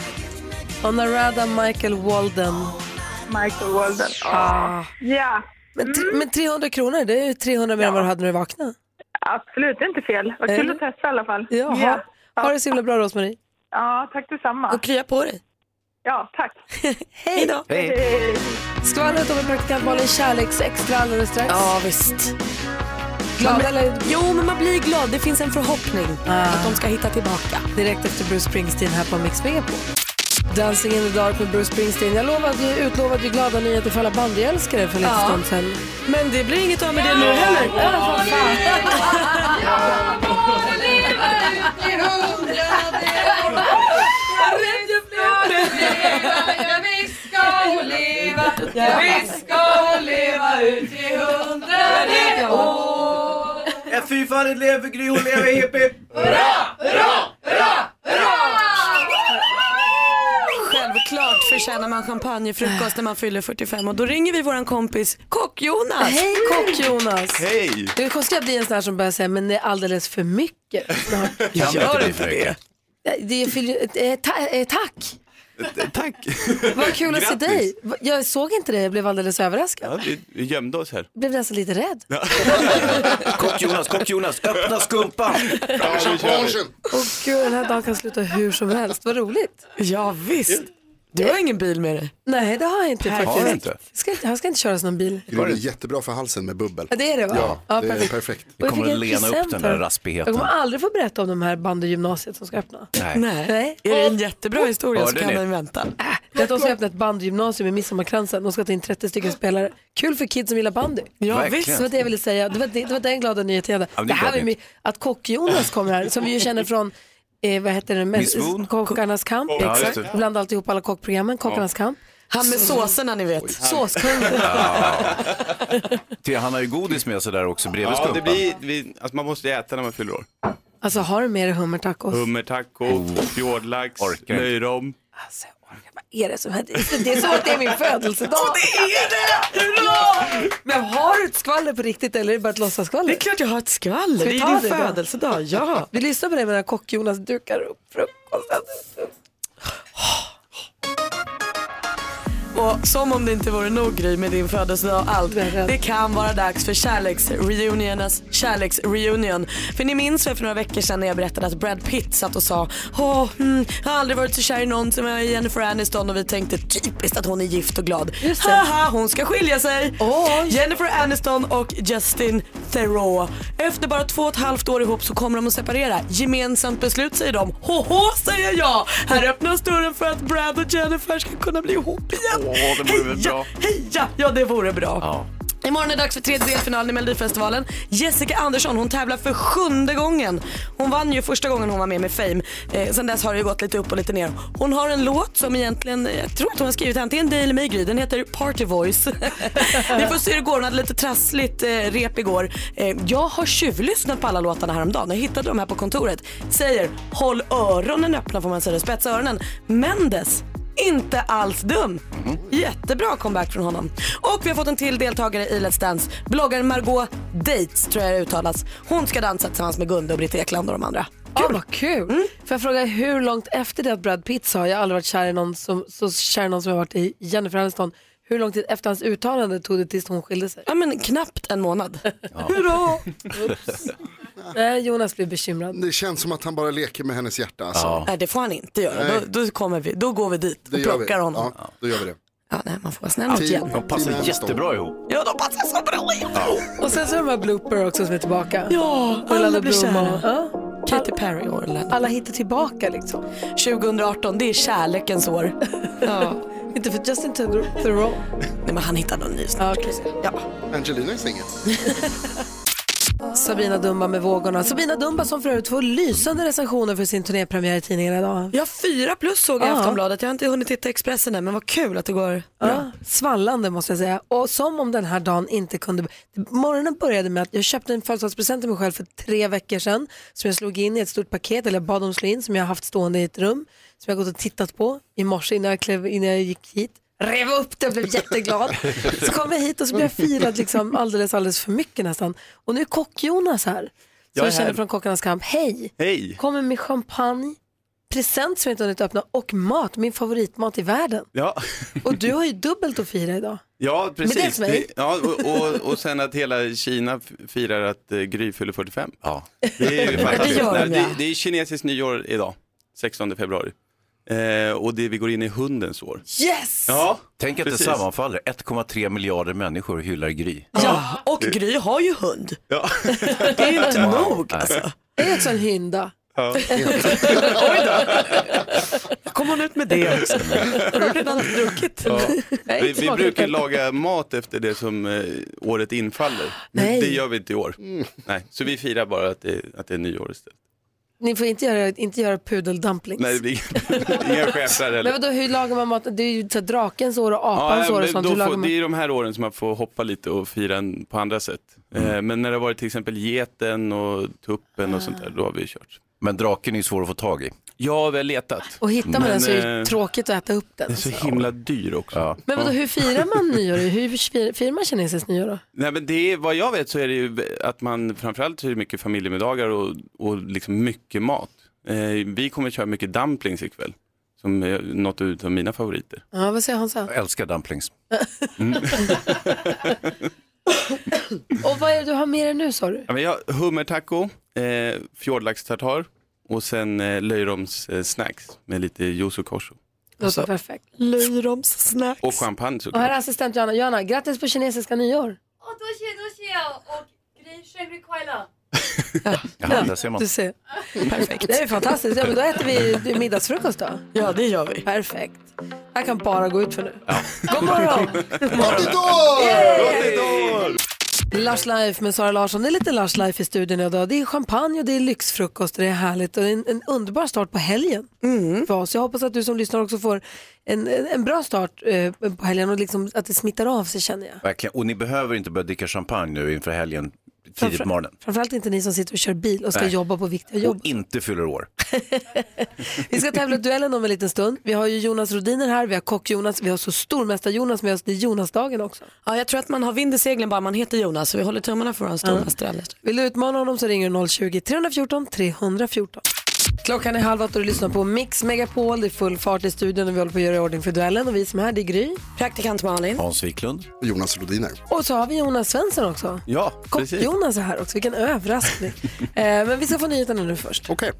[SPEAKER 2] Honorada Michael Walden.
[SPEAKER 10] Michael Walden.
[SPEAKER 2] Ah.
[SPEAKER 10] Ja. Mm.
[SPEAKER 2] Men, t- men 300 kronor, det är ju 300 mer än vad du hade när du vaknade.
[SPEAKER 10] Absolut, inte fel. Vad
[SPEAKER 2] Eller?
[SPEAKER 10] kul att testa i alla fall.
[SPEAKER 2] Ja, ha, ha det så himla bra Rosmarie.
[SPEAKER 10] Ja, tack detsamma.
[SPEAKER 2] Och krya på dig.
[SPEAKER 10] Ja, tack.
[SPEAKER 2] Hej då. Skvallret om en praktikant Malin Kärleksextra alldeles strax.
[SPEAKER 4] Ja, visst.
[SPEAKER 2] Glad
[SPEAKER 4] Ja, men-
[SPEAKER 2] eller? Ah.
[SPEAKER 4] Jo, men man blir glad. Det finns en förhoppning att de ska hitta tillbaka.
[SPEAKER 2] Direkt efter Bruce Springsteen här på Mix Megapol. Dancing in the dark med Bruce Springsteen. Jag lovade, utlovade ju glada nyheter för alla bandyälskare för lite
[SPEAKER 4] Ja.
[SPEAKER 2] stund sedan.
[SPEAKER 4] Men det blir inget av med det nu heller.
[SPEAKER 3] En fyrfaldig lever Gry, hon lever hipp hipp.
[SPEAKER 4] Självklart förtjänar man champagnefrukost när man fyller 45 och då ringer vi vår kompis Kock-Jonas.
[SPEAKER 2] Hej Kock-Jonas!
[SPEAKER 3] Hej!
[SPEAKER 2] Det är konstigt att det är en sån här som börjar säga men det är alldeles för mycket.
[SPEAKER 3] Kan du inte bli för mycket?
[SPEAKER 2] Det är för, eh, ta, eh, tack!
[SPEAKER 15] Tack!
[SPEAKER 2] Vad kul att se
[SPEAKER 15] Grattis.
[SPEAKER 2] dig. Va- Jag såg inte dig, jag blev alldeles överraskad.
[SPEAKER 15] Ja, vi, vi gömde oss här.
[SPEAKER 2] Blev nästan lite rädd.
[SPEAKER 3] Kock Jonas, kock Jonas, öppna skumpan!
[SPEAKER 2] Åh gud, den här dagen kan sluta hur som helst. Vad roligt.
[SPEAKER 4] Ja visst. Du har ingen bil med dig.
[SPEAKER 2] Nej, det har jag inte
[SPEAKER 9] Perfekt.
[SPEAKER 2] faktiskt.
[SPEAKER 9] Har du inte?
[SPEAKER 2] Ska inte, jag ska inte köras någon bil.
[SPEAKER 9] Det är jättebra för halsen med bubbel.
[SPEAKER 2] Ja, det är det, va?
[SPEAKER 9] Ja,
[SPEAKER 2] Ja,
[SPEAKER 9] det
[SPEAKER 2] perfekt.
[SPEAKER 9] är perfekt.
[SPEAKER 2] Och jag fick en present av dem.
[SPEAKER 3] raspigheten.
[SPEAKER 2] Jag kommer aldrig få berätta om de här bandygymnasiet som ska öppna.
[SPEAKER 3] Nej.
[SPEAKER 2] Nej.
[SPEAKER 4] Är det en jättebra historia så
[SPEAKER 2] Hörde
[SPEAKER 4] kan
[SPEAKER 2] ni?
[SPEAKER 4] den vänta.
[SPEAKER 2] Det är att de ska öppna ett bandygymnasium i Midsommarkransen. De ska ta in 30 stycken spelare. Kul för kids som gillar bandy.
[SPEAKER 4] Ja, Verkligen. visst.
[SPEAKER 2] Det var det jag ville säga. Det var, det, det var den glada nyheten jag hade.
[SPEAKER 4] Ja, men
[SPEAKER 2] det
[SPEAKER 4] det är
[SPEAKER 2] här
[SPEAKER 4] bra
[SPEAKER 2] var
[SPEAKER 4] nytt.
[SPEAKER 2] my- att Kock-Jonas kommer här, som vi ju känner från eh, vad heter det?
[SPEAKER 4] Miss Moon?
[SPEAKER 2] Kockarnas kamp.
[SPEAKER 4] Ja, just det.
[SPEAKER 2] Bland alltihop alla kockprogrammen. Kockarnas kamp.
[SPEAKER 4] Han med såserna ni vet.
[SPEAKER 2] Såskungen.
[SPEAKER 3] Till- Han har ju godis med sig där också bredvid
[SPEAKER 15] Ja, det
[SPEAKER 3] skumpan.
[SPEAKER 15] blir, vi, alltså man måste äta när man fyller år.
[SPEAKER 2] Alltså har du med dig hummertacos?
[SPEAKER 15] Hummertaco, fjordlax, löjrom.
[SPEAKER 2] är det som händer? Det är som att det är min födelsedag.
[SPEAKER 4] det är det!
[SPEAKER 2] Men har du ett skvaller på riktigt eller är det bara ett låtsaskvaller? Det är
[SPEAKER 4] klart jag har ett skvaller.
[SPEAKER 2] Ska
[SPEAKER 4] Det
[SPEAKER 2] vi
[SPEAKER 4] är
[SPEAKER 2] ta
[SPEAKER 4] din
[SPEAKER 2] det då?
[SPEAKER 4] födelsedag, ja.
[SPEAKER 2] Vi lyssnar på det medan kock-Jonas dukar upp frukosten.
[SPEAKER 4] Och som om det inte vore nog Gry med din födelsedag och allt. Det kan vara dags för kärleksreunionernas kärleksreunion. För ni minns väl för några veckor sedan när jag berättade att Brad Pitt satt och sa Åh, mm, jag har aldrig varit så kär i någon som jag är i Jennifer Aniston och vi tänkte typiskt att hon är gift och glad. Haha, hon ska skilja sig. Jennifer Aniston och Justin Theroux. Efter bara två och ett halvt år ihop så kommer de att separera. Gemensamt beslut säger de. Hoho säger jag! Här öppnas dörren för att Brad och Jennifer ska kunna bli ihop igen.
[SPEAKER 11] Åh, det vore väl bra.
[SPEAKER 4] Heja! Ja, det vore bra. Imorgon är det dags för tredje delfinalen i Melodifestivalen. Jessica Andersson hon tävlar för sjunde gången. Hon vann ju första gången hon var med med Fame. Eh, sen dess har det ju gått lite upp och lite ner. Hon har en låt som egentligen, eh, jag tror att hon har skrivit antingen dig eller mig Gry. Den heter Party Voice. Vi får se hur det går. Hon hade lite trassligt eh, rep igår. Eh, jag har tjuvlyssnat på alla låtarna häromdagen. Jag hittade dem här på kontoret. Säger håll öronen öppna får man säga. det. Spetsa öronen. Mendes inte alls dum. Jättebra comeback från honom. Och vi har fått en till deltagare i Let's Dance. Bloggaren Margot Dates tror jag det uttalas. Hon ska dansa tillsammans med Gunde och Britt Ekland och de andra.
[SPEAKER 2] Kul. vad kul.
[SPEAKER 4] Mm.
[SPEAKER 2] Får jag fråga hur långt efter det att Brad Pitt sa jag har aldrig varit kär i någon som, så kär i någon som jag har varit i Jennifer Aniston. Hur lång tid efter hans uttalande tog det tills hon skilde sig?
[SPEAKER 4] Ja men knappt en månad.
[SPEAKER 2] Hurra! Nej, Jonas blir bekymrad.
[SPEAKER 9] Det känns som att han bara leker med hennes hjärta. Alltså.
[SPEAKER 4] Ja. Nej, det får han inte göra.
[SPEAKER 9] Nej.
[SPEAKER 4] Då, då, kommer vi, då går vi dit
[SPEAKER 9] Det
[SPEAKER 4] och
[SPEAKER 9] gör vi.
[SPEAKER 4] plockar honom.
[SPEAKER 9] Ja, då gör vi det.
[SPEAKER 4] Ja, nej, man får vara snäll mot Jenny.
[SPEAKER 3] De passar jättebra ihop.
[SPEAKER 4] Ja, de passar så bra ihop.
[SPEAKER 2] Och sen så är de här blooper också som är tillbaka.
[SPEAKER 4] Ja, alla blir
[SPEAKER 2] Blom och-
[SPEAKER 4] kära. Katy Perry och Orlando.
[SPEAKER 2] Alla hittar tillbaka liksom.
[SPEAKER 4] 2018, det är kärlekens år. ja.
[SPEAKER 2] Inte för Justin Theroux. Theroux.
[SPEAKER 4] Nej, men han hittar någon ny snart. Ja.
[SPEAKER 9] Angelina är singel.
[SPEAKER 2] Sabina Dumba med vågorna. Sabina Dumba som för övrigt får lysande recensioner för sin turnépremiär i tidningarna idag.
[SPEAKER 4] Ja, fyra plus såg jag i
[SPEAKER 2] Ja.
[SPEAKER 4] Aftonbladet. Jag har inte hunnit titta i Expressen än, men vad kul att det går
[SPEAKER 2] Ja, svallande måste jag säga. Och som om den här dagen inte kunde... Morgonen började med att jag köpte en födelsedagspresent till mig själv för tre veckor sedan. Som jag slog in i ett stort paket, eller jag bad dem slå in, som jag har haft stående i ett rum. Som jag har gått och tittat på i morse innan jag, klev, innan jag gick hit. Rev upp det och blev jätteglad. Så kom jag hit och så blev jag firad liksom alldeles, alldeles för mycket nästan. Och nu är Kock-Jonas här. Som
[SPEAKER 15] Jag är
[SPEAKER 2] jag känner
[SPEAKER 15] här.
[SPEAKER 2] från Kockarnas kamp. Hej!
[SPEAKER 15] Hej!
[SPEAKER 2] Kommer med champagne, present som jag inte hunnit öppna och mat, min favoritmat i världen.
[SPEAKER 15] Ja,
[SPEAKER 2] Och du har ju dubbelt att fira idag.
[SPEAKER 15] ja precis.
[SPEAKER 2] Men dels mig.
[SPEAKER 15] Det- Ja, och, och, och sen att hela Kina f- firar att eh, Gry fyller 45.
[SPEAKER 3] Ja.
[SPEAKER 15] Det är ju
[SPEAKER 3] Det
[SPEAKER 15] fantastiskt.
[SPEAKER 3] gör de,
[SPEAKER 15] Nej,
[SPEAKER 3] ja.
[SPEAKER 15] det, det är kinesiskt nyår idag, 16 februari. Eh, och det, vi går in i hundens år.
[SPEAKER 4] Yes!
[SPEAKER 15] Ja,
[SPEAKER 3] Tänk att
[SPEAKER 15] precis.
[SPEAKER 3] det sammanfaller. 1,3 miljarder människor hyllar Gry.
[SPEAKER 4] Ja, och Gry har ju hund.
[SPEAKER 15] Ja.
[SPEAKER 4] Det är ju inte nog.
[SPEAKER 3] alltså.
[SPEAKER 2] Det är också en hynda.
[SPEAKER 4] Kom hon ut med det också? Har du redan druckit?
[SPEAKER 15] Ja.
[SPEAKER 4] Nej,
[SPEAKER 15] Vi, vi
[SPEAKER 4] smakar
[SPEAKER 15] brukar
[SPEAKER 4] inte.
[SPEAKER 15] laga mat efter det som eh, året infaller.
[SPEAKER 2] Nej. Mm.
[SPEAKER 15] Det gör vi inte i år. Nej, så vi firar bara att det, att det är nyår istället.
[SPEAKER 2] Ni får inte göra, inte göra pudeldumplings.
[SPEAKER 15] Nej, det blir inga schäfrar
[SPEAKER 2] men
[SPEAKER 15] heller.
[SPEAKER 2] vadå, hur lagar man mat? Det är ju så här, drakens år och
[SPEAKER 15] Ja,
[SPEAKER 2] apans
[SPEAKER 15] men
[SPEAKER 2] år och
[SPEAKER 15] då
[SPEAKER 2] sånt. Hur lagar
[SPEAKER 15] får, det är
[SPEAKER 2] man?
[SPEAKER 15] ju de här åren som man får hoppa lite och fira en- på andra sätt. Eh,
[SPEAKER 3] Mm.
[SPEAKER 15] men när det har varit till exempel geten och tuppen och sånt där, då har vi kört.
[SPEAKER 3] Men draken är ju svår att få tag i.
[SPEAKER 15] Jag har väl letat.
[SPEAKER 2] Och hittar man den så är det
[SPEAKER 15] eh,
[SPEAKER 2] tråkigt att äta upp
[SPEAKER 15] Den
[SPEAKER 2] den.
[SPEAKER 15] är så himla dyr också.
[SPEAKER 2] Men vadå,
[SPEAKER 15] Ja.
[SPEAKER 2] hur firar man nyår? Hur fir- firar man kinesiskt nyår då?
[SPEAKER 15] Nej, men det är, vad jag vet så är det ju att man framförallt så är det mycket familjemiddagar och, och liksom mycket mat. Eh, vi kommer köra mycket dumplings ikväll, som är något utav mina favoriter.
[SPEAKER 2] Ja, vad säger Hansa?
[SPEAKER 3] Jag älskar dumplings.
[SPEAKER 2] Och vad är det du har med dig nu sa du?
[SPEAKER 15] Ja, men jag har hummertaco, eh, fjordlaxtartar och sen eh, löjroms eh, snacks med lite yuzu korso.
[SPEAKER 2] Låter perfekt.
[SPEAKER 4] Löjromssnack.
[SPEAKER 15] Alltså- Och champagne
[SPEAKER 2] Och här är
[SPEAKER 15] såklart.
[SPEAKER 2] assistent Johanna. Johanna, grattis på kinesiska nyår.
[SPEAKER 16] 哦，多谢多谢，我给生日快乐！
[SPEAKER 3] Ja, där ser man.
[SPEAKER 2] Du ser.
[SPEAKER 4] Perfekt.
[SPEAKER 2] Det är fantastiskt. Ja, men då äter vi middagsfrukost då.
[SPEAKER 4] Ja, det gör vi.
[SPEAKER 2] Perfekt. Det här kan bara gå ut för nu. God morgon!
[SPEAKER 11] Gott nytt
[SPEAKER 2] år!
[SPEAKER 11] Gott nytt
[SPEAKER 15] år!
[SPEAKER 2] Lars Life med Sara Larsson. Det är lite Lars Life i studion idag. Det är champagne och det är lyxfrukost och det är härligt. Och det är en, en underbar start på helgen
[SPEAKER 4] Mm.
[SPEAKER 2] för oss. Jag hoppas att du som lyssnar också får en, en, en bra start eh, på helgen och liksom att det smittar av sig känner jag.
[SPEAKER 3] Verkligen. Och ni behöver inte börja dricka champagne nu inför helgen tidigt på morgonen.
[SPEAKER 2] Framförallt inte ni som sitter och kör bil och ska
[SPEAKER 3] Nej.
[SPEAKER 2] jobba på viktiga jobb.
[SPEAKER 3] Och inte fyller år.
[SPEAKER 2] Vi ska tävla i duellen om en liten stund. Vi har ju Jonas Rodiner här, vi har Kock-Jonas, vi har så stormästar-Jonas med oss. Det är Jonas-dagen också.
[SPEAKER 4] Ja, jag tror att man har vind i seglen bara man heter Jonas, så vi håller tummarna för vår stormästare.
[SPEAKER 2] Vill du utmana honom så ringer du 020-314 314. Klockan är halv åtta och du lyssnar på Mix Megapol. Det är full fart i studion och vi håller på att göra i ordning för duellen. Och vi som är här, det är Gry. Praktikant Malin.
[SPEAKER 3] Hans Wiklund.
[SPEAKER 9] Jonas Rodiner.
[SPEAKER 2] Och så har vi Jonas Svensson också.
[SPEAKER 3] Ja, precis.
[SPEAKER 2] Jonas är här också, vilken överraskning. eh, men vi ska få nyheterna nu först.
[SPEAKER 9] Okej.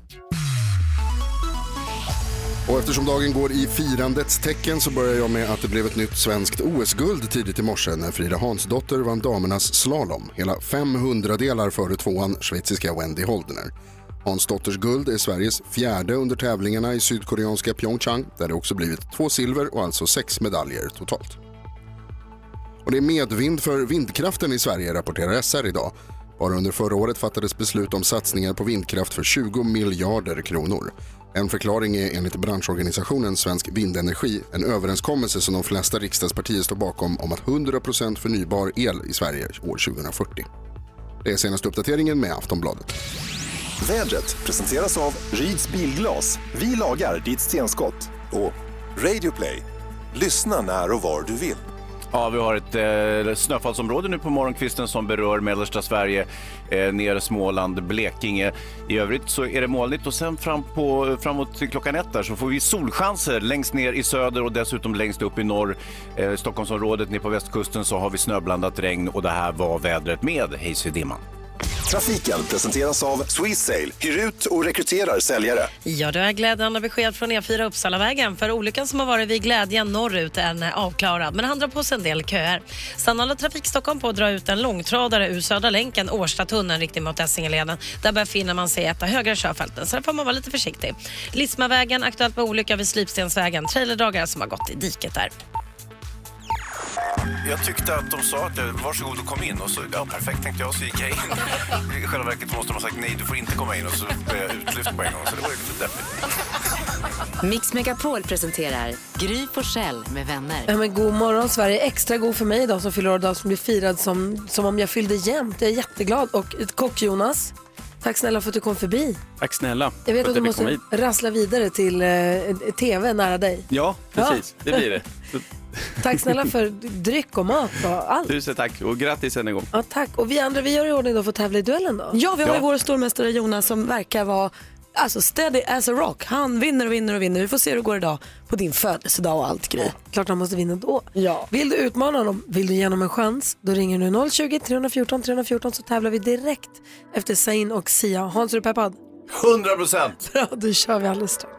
[SPEAKER 9] Och eftersom dagen går i firandets tecken så börjar jag med att det blev ett nytt svenskt OS-guld tidigt i morse när Frida Hansdotter vann damernas slalom, hela 500 delar före tvåan schweiziska Wendy Holdner. Hansdotters guld är Sveriges fjärde under tävlingarna i sydkoreanska Pyeongchang där det också blivit två silver och alltså sex medaljer totalt. Och det är medvind för vindkraften i Sverige, rapporterar SR idag. Bara under förra året fattades beslut om satsningar på vindkraft för 20 miljarder kronor. En förklaring är enligt branschorganisationen Svensk Vindenergi en överenskommelse som de flesta riksdagspartier står bakom om att 100% förnybar el i Sverige år 2040. Det är senaste uppdateringen med Aftonbladet.
[SPEAKER 14] Vädret presenteras av Ryds Bilglas. Vi lagar ditt stenskott. Och Radio Play. Lyssna när och var du vill.
[SPEAKER 3] Ja, vi har ett eh, snöfallsområde nu på morgonkvisten som berör mellersta Sverige, eh, ner Småland, Blekinge. I övrigt så är det molnigt och sen fram på, framåt till klockan ett där så får vi solchanser längst ner i söder och dessutom längst upp i norr. Eh, Stockholmsområdet, ner på västkusten så har vi snöblandat regn och det här var vädret med Hayes i dimman.
[SPEAKER 14] Trafiken presenteras av Swissail. Hyr ut och rekryterar säljare.
[SPEAKER 16] Ja, det är glädjande besked från E4 Uppsalavägen. För olyckan som har varit vid Glädjen norrut är nu avklarad, men han drar på sig en del köer. Sen håller Trafik Stockholm på att dra ut en långtradare ur Södra länken, Årstatunneln, riktning mot Essingeleden. Där befinner man sig i ett av högra körfälten, så där får man vara lite försiktig. Lismavägen, aktuellt med olycka vid Slipstensvägen. Trailerdragare som har gått i diket där.
[SPEAKER 3] Jag tyckte att de sa att jag, varsågod och kom in och så, ja perfekt tänkte jag, så gick jag in. I själva verket måste de ha sagt nej, du får inte komma in och så blev jag utlyft på en gång, så det var ju lite deppigt.
[SPEAKER 17] Mix Megapol presenterar Gry Forssell med vänner.
[SPEAKER 2] Ja, men god morgon Sverige. Extra god för mig idag som fyller år idag som blir firad som, som om jag fyllde jämnt. Jag är jätteglad. Och ett kock Jonas, tack snälla för att du kom förbi.
[SPEAKER 15] Tack snälla
[SPEAKER 2] Jag vet
[SPEAKER 15] för
[SPEAKER 2] att du
[SPEAKER 15] jag fick komma
[SPEAKER 2] måste
[SPEAKER 15] hit.
[SPEAKER 2] rassla vidare till eh, tv nära dig.
[SPEAKER 15] Ja, precis.
[SPEAKER 2] Ja.
[SPEAKER 15] Det blir det. Så,
[SPEAKER 2] Tack snälla för dryck och mat och allt.
[SPEAKER 15] Tusen tack och grattis än en gång.
[SPEAKER 2] Ja, tack. Och vi andra, vi gör i ordning då för att tävla i duellen då.
[SPEAKER 4] Ja, vi har
[SPEAKER 15] Ja.
[SPEAKER 4] ju vår stormästare Jonas som verkar vara alltså, steady as a rock. Han vinner och vinner och vinner. Vi får se hur det går idag på din födelsedag och allt Gry.
[SPEAKER 2] Klart han måste vinna då. Ja. Vill du utmana honom, vill du ge honom en chans, då ringer du 020-314 314 så tävlar vi direkt efter Zayn och Sia. Hans, är du peppad?
[SPEAKER 3] 100 procent!
[SPEAKER 2] Bra, då kör vi alldeles strax.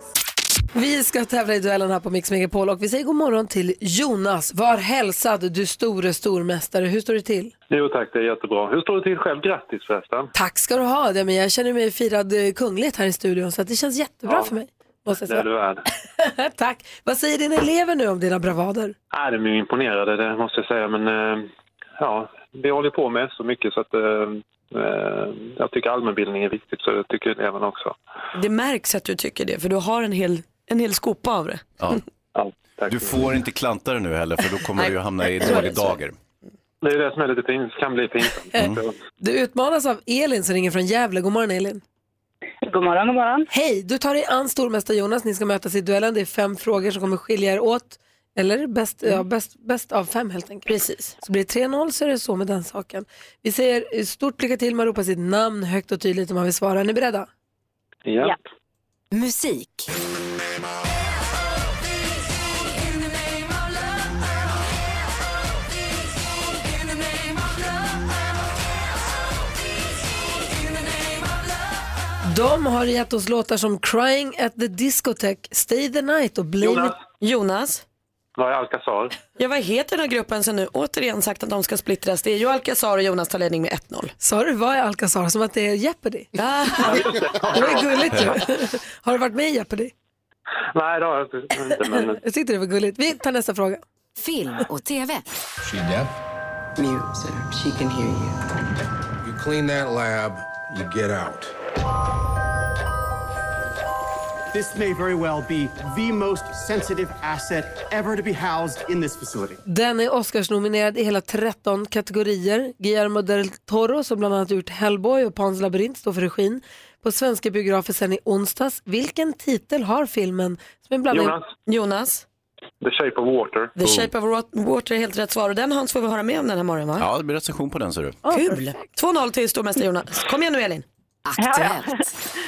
[SPEAKER 2] Vi ska tävla i duellen här på Mix Megapol och vi säger god morgon till Jonas. Var hälsad du store stormästare. Hur står det till?
[SPEAKER 8] Jo tack, det är jättebra. Hur står det till själv? Grattis förresten.
[SPEAKER 2] Tack ska du ha. Det, men jag känner mig firad eh, kungligt här i studion så att det känns jättebra för mig. Måste jag
[SPEAKER 8] Det är
[SPEAKER 2] säga.
[SPEAKER 8] du värd.
[SPEAKER 2] Tack. Vad säger dina elever nu om dina bravader?
[SPEAKER 8] Nej, de är ju imponerade, det måste jag säga. Men eh, ja, vi håller på med så mycket så att eh, eh, jag tycker allmänbildning är viktigt, så det tycker eleverna också.
[SPEAKER 4] Det märks att du tycker det för du har en hel, en hel skopa av det.
[SPEAKER 3] Ja. Du får inte klanta dig nu heller, för då kommer du ju hamna i
[SPEAKER 2] Så är det,
[SPEAKER 3] dålig
[SPEAKER 2] så är det.
[SPEAKER 3] dager.
[SPEAKER 8] Det är det som är lite pins, kan bli pinsamt.
[SPEAKER 4] Mm.
[SPEAKER 8] Så,
[SPEAKER 2] Du utmanas av Elin som ringer från Gävle. God morgon Elin.
[SPEAKER 10] God morgon, god morgon.
[SPEAKER 2] Hej, du tar dig an stormästare Jonas. Ni ska mötas i duellen. Det är fem frågor som kommer skilja er åt. Eller bäst, ja,
[SPEAKER 10] Mm.
[SPEAKER 2] bäst, bäst av fem helt enkelt. Precis. Så blir det 3-0 så är det så med den saken. Vi säger stort lycka till. Man ropar sitt namn högt och tydligt om man vill svara. Är ni beredda?
[SPEAKER 8] ja.
[SPEAKER 2] Musik. De har gett oss låtar som Crying at the Discotech, Stay the Night och Blame
[SPEAKER 4] Jonas.
[SPEAKER 2] It.
[SPEAKER 4] Jonas,
[SPEAKER 8] Vad är Alcazar?
[SPEAKER 4] jag vad heter den här gruppen som nu återigen sagt att de ska splittras? Det är ju Alcazar och Jonas tar ledning med 1-0.
[SPEAKER 2] Sa du vad är Alcazar? Som att det är Jeopardy? det var gulligt ju. Har du varit med i Jeopardy?
[SPEAKER 8] Nej, det har jag inte. Men...
[SPEAKER 4] Alltså,
[SPEAKER 2] Jag tyckte det var gulligt. Vi tar nästa fråga. Film och TV.
[SPEAKER 12] She deaf? Mute, sir. She can hear you. You clean that lab, you get out.
[SPEAKER 18] This may very well be the most sensitive asset ever to be housed in this facility.
[SPEAKER 2] Den är Oscarsnominerad i hela 13 kategorier. Guillermo del Toro, som bland annat gjort Hellboy och Pans labyrint, står för regin. På svenska biografer sen i onsdags. Vilken titel har filmen? Som är bland
[SPEAKER 8] Jonas.
[SPEAKER 4] Jonas,
[SPEAKER 8] The Shape of Water.
[SPEAKER 4] The Shape of Wa- Water är helt rätt svar och den Hans får vi höra mer om den här morgonen va?
[SPEAKER 3] Ja, det blir recension på den ser du.
[SPEAKER 4] Kul! 2-0 till stormästare Jonas. Kom igen nu Elin.
[SPEAKER 17] Aktuellt.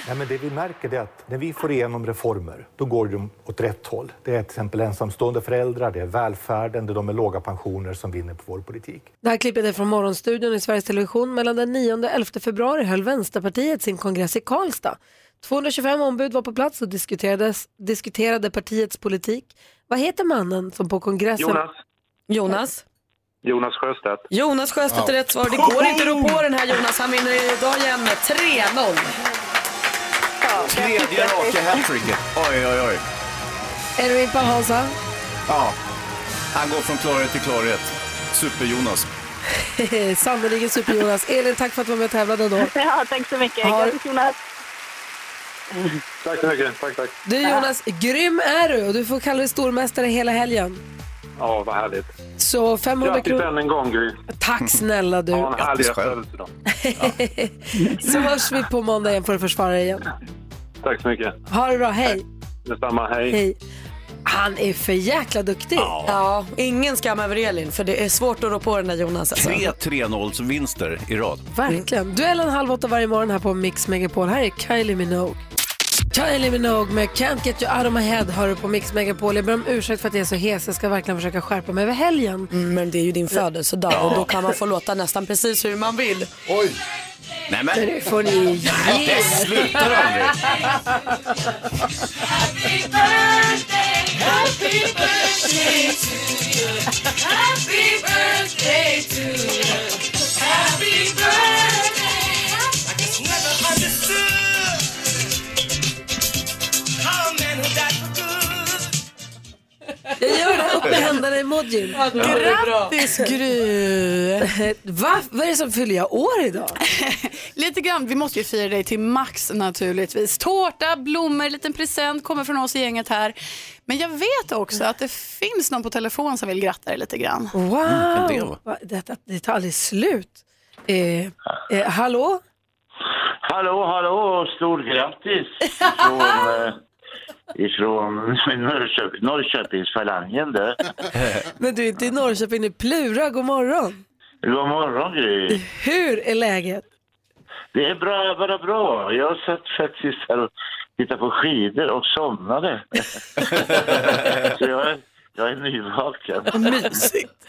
[SPEAKER 19] Nej, men det vi märker är att när vi får igenom reformer, då går de åt rätt håll. Det är till exempel ensamstående föräldrar, det är välfärden, det är de med låga pensioner som vinner på vår politik.
[SPEAKER 2] Det här klippet är från Morgonstudion i Sveriges Television. Mellan den 9 och 11 februari höll Vänsterpartiet sin kongress i Karlstad. 225 ombud var på plats och diskuterades, diskuterade partiets politik. Vad heter mannen som på kongressen...
[SPEAKER 8] Jonas.
[SPEAKER 4] Jonas.
[SPEAKER 8] Jonas Sjöstedt.
[SPEAKER 4] Jonas Sjöstedt är rätt svar. Det går inte att rå på den här Jonas. Han vinner idag igen med 3-0.
[SPEAKER 3] Tredje raka hattricket. Oj, oj, oj.
[SPEAKER 2] Är du på Hansa?
[SPEAKER 3] Ja. Han går från klarhet till klarhet. Super-Jonas.
[SPEAKER 2] Sannerligen super-Jonas. Elin, tack för att du var med och tävlade då.
[SPEAKER 10] Ja, tack så mycket.
[SPEAKER 2] Har-
[SPEAKER 10] Grattis Jonas.
[SPEAKER 8] Tack så mycket. Tack, tack.
[SPEAKER 2] Du Jonas, grym är du och du får kalla dig stormästare hela helgen.
[SPEAKER 8] Ja, vad härligt.
[SPEAKER 2] Så 500
[SPEAKER 8] Grattis
[SPEAKER 2] kronor.
[SPEAKER 8] än en gång, Gry.
[SPEAKER 2] Tack snälla du.
[SPEAKER 8] Ha en härlig födelsedag.
[SPEAKER 2] Så hörs vi på måndag igen för att försvara dig igen.
[SPEAKER 8] Tack så mycket.
[SPEAKER 2] Ha det bra, hej.
[SPEAKER 8] Detsamma. Hej.
[SPEAKER 2] Hej. Han är för jäkla duktig.
[SPEAKER 4] Ja, ingen skam över Elin för det är svårt att rå på den här Jonas. Alltså.
[SPEAKER 3] Tre 3-0-vinster i rad.
[SPEAKER 2] Verkligen. Duellen halv åtta varje morgon här på Mix Megapol. Här är Kylie Minogue. Kylie Minogue med Can't Get You Out of My Head hör du på Mix Megapol. Jag ber om ursäkt för att jag är så hes. Jag ska verkligen försöka skärpa mig över helgen.
[SPEAKER 4] Mm, men det är ju din födelsedag och då kan man få låta nästan precis hur man vill.
[SPEAKER 9] Oj!
[SPEAKER 3] Nej
[SPEAKER 2] Men nu får ni ge
[SPEAKER 4] Det slutar aldrig.
[SPEAKER 2] Jag gör det upp med händerna-emojin.
[SPEAKER 11] Ja, det är bra.
[SPEAKER 2] Grattis Gry! Eh, Va? Vad är det som fyller jag år idag?
[SPEAKER 13] Lite grann, vi måste ju fira dig till max naturligtvis. Tårta, blommor, liten present kommer från oss i gänget här. Men jag vet också att det finns någon på telefon som vill gratta dig lite grann.
[SPEAKER 2] Wow!
[SPEAKER 13] Mm, vem det var?
[SPEAKER 2] Ah, Va- Detta, det tar aldrig slut. Eh, eh, hallå?
[SPEAKER 20] Hallå, hallå och stort grattis från,
[SPEAKER 2] Ah!
[SPEAKER 20] eh, ifrån Norrköp, Norrköpingsfalangen där.
[SPEAKER 2] Men du är inte i Norrköping, du är i Plura. God morgon!
[SPEAKER 20] God morgon Gry.
[SPEAKER 2] Hur är läget?
[SPEAKER 20] Det är bra, bara bra. Jag satt faktiskt här och tittade på skidor och somnade. Så jag, är- jag är nyvaken.
[SPEAKER 2] Mysigt.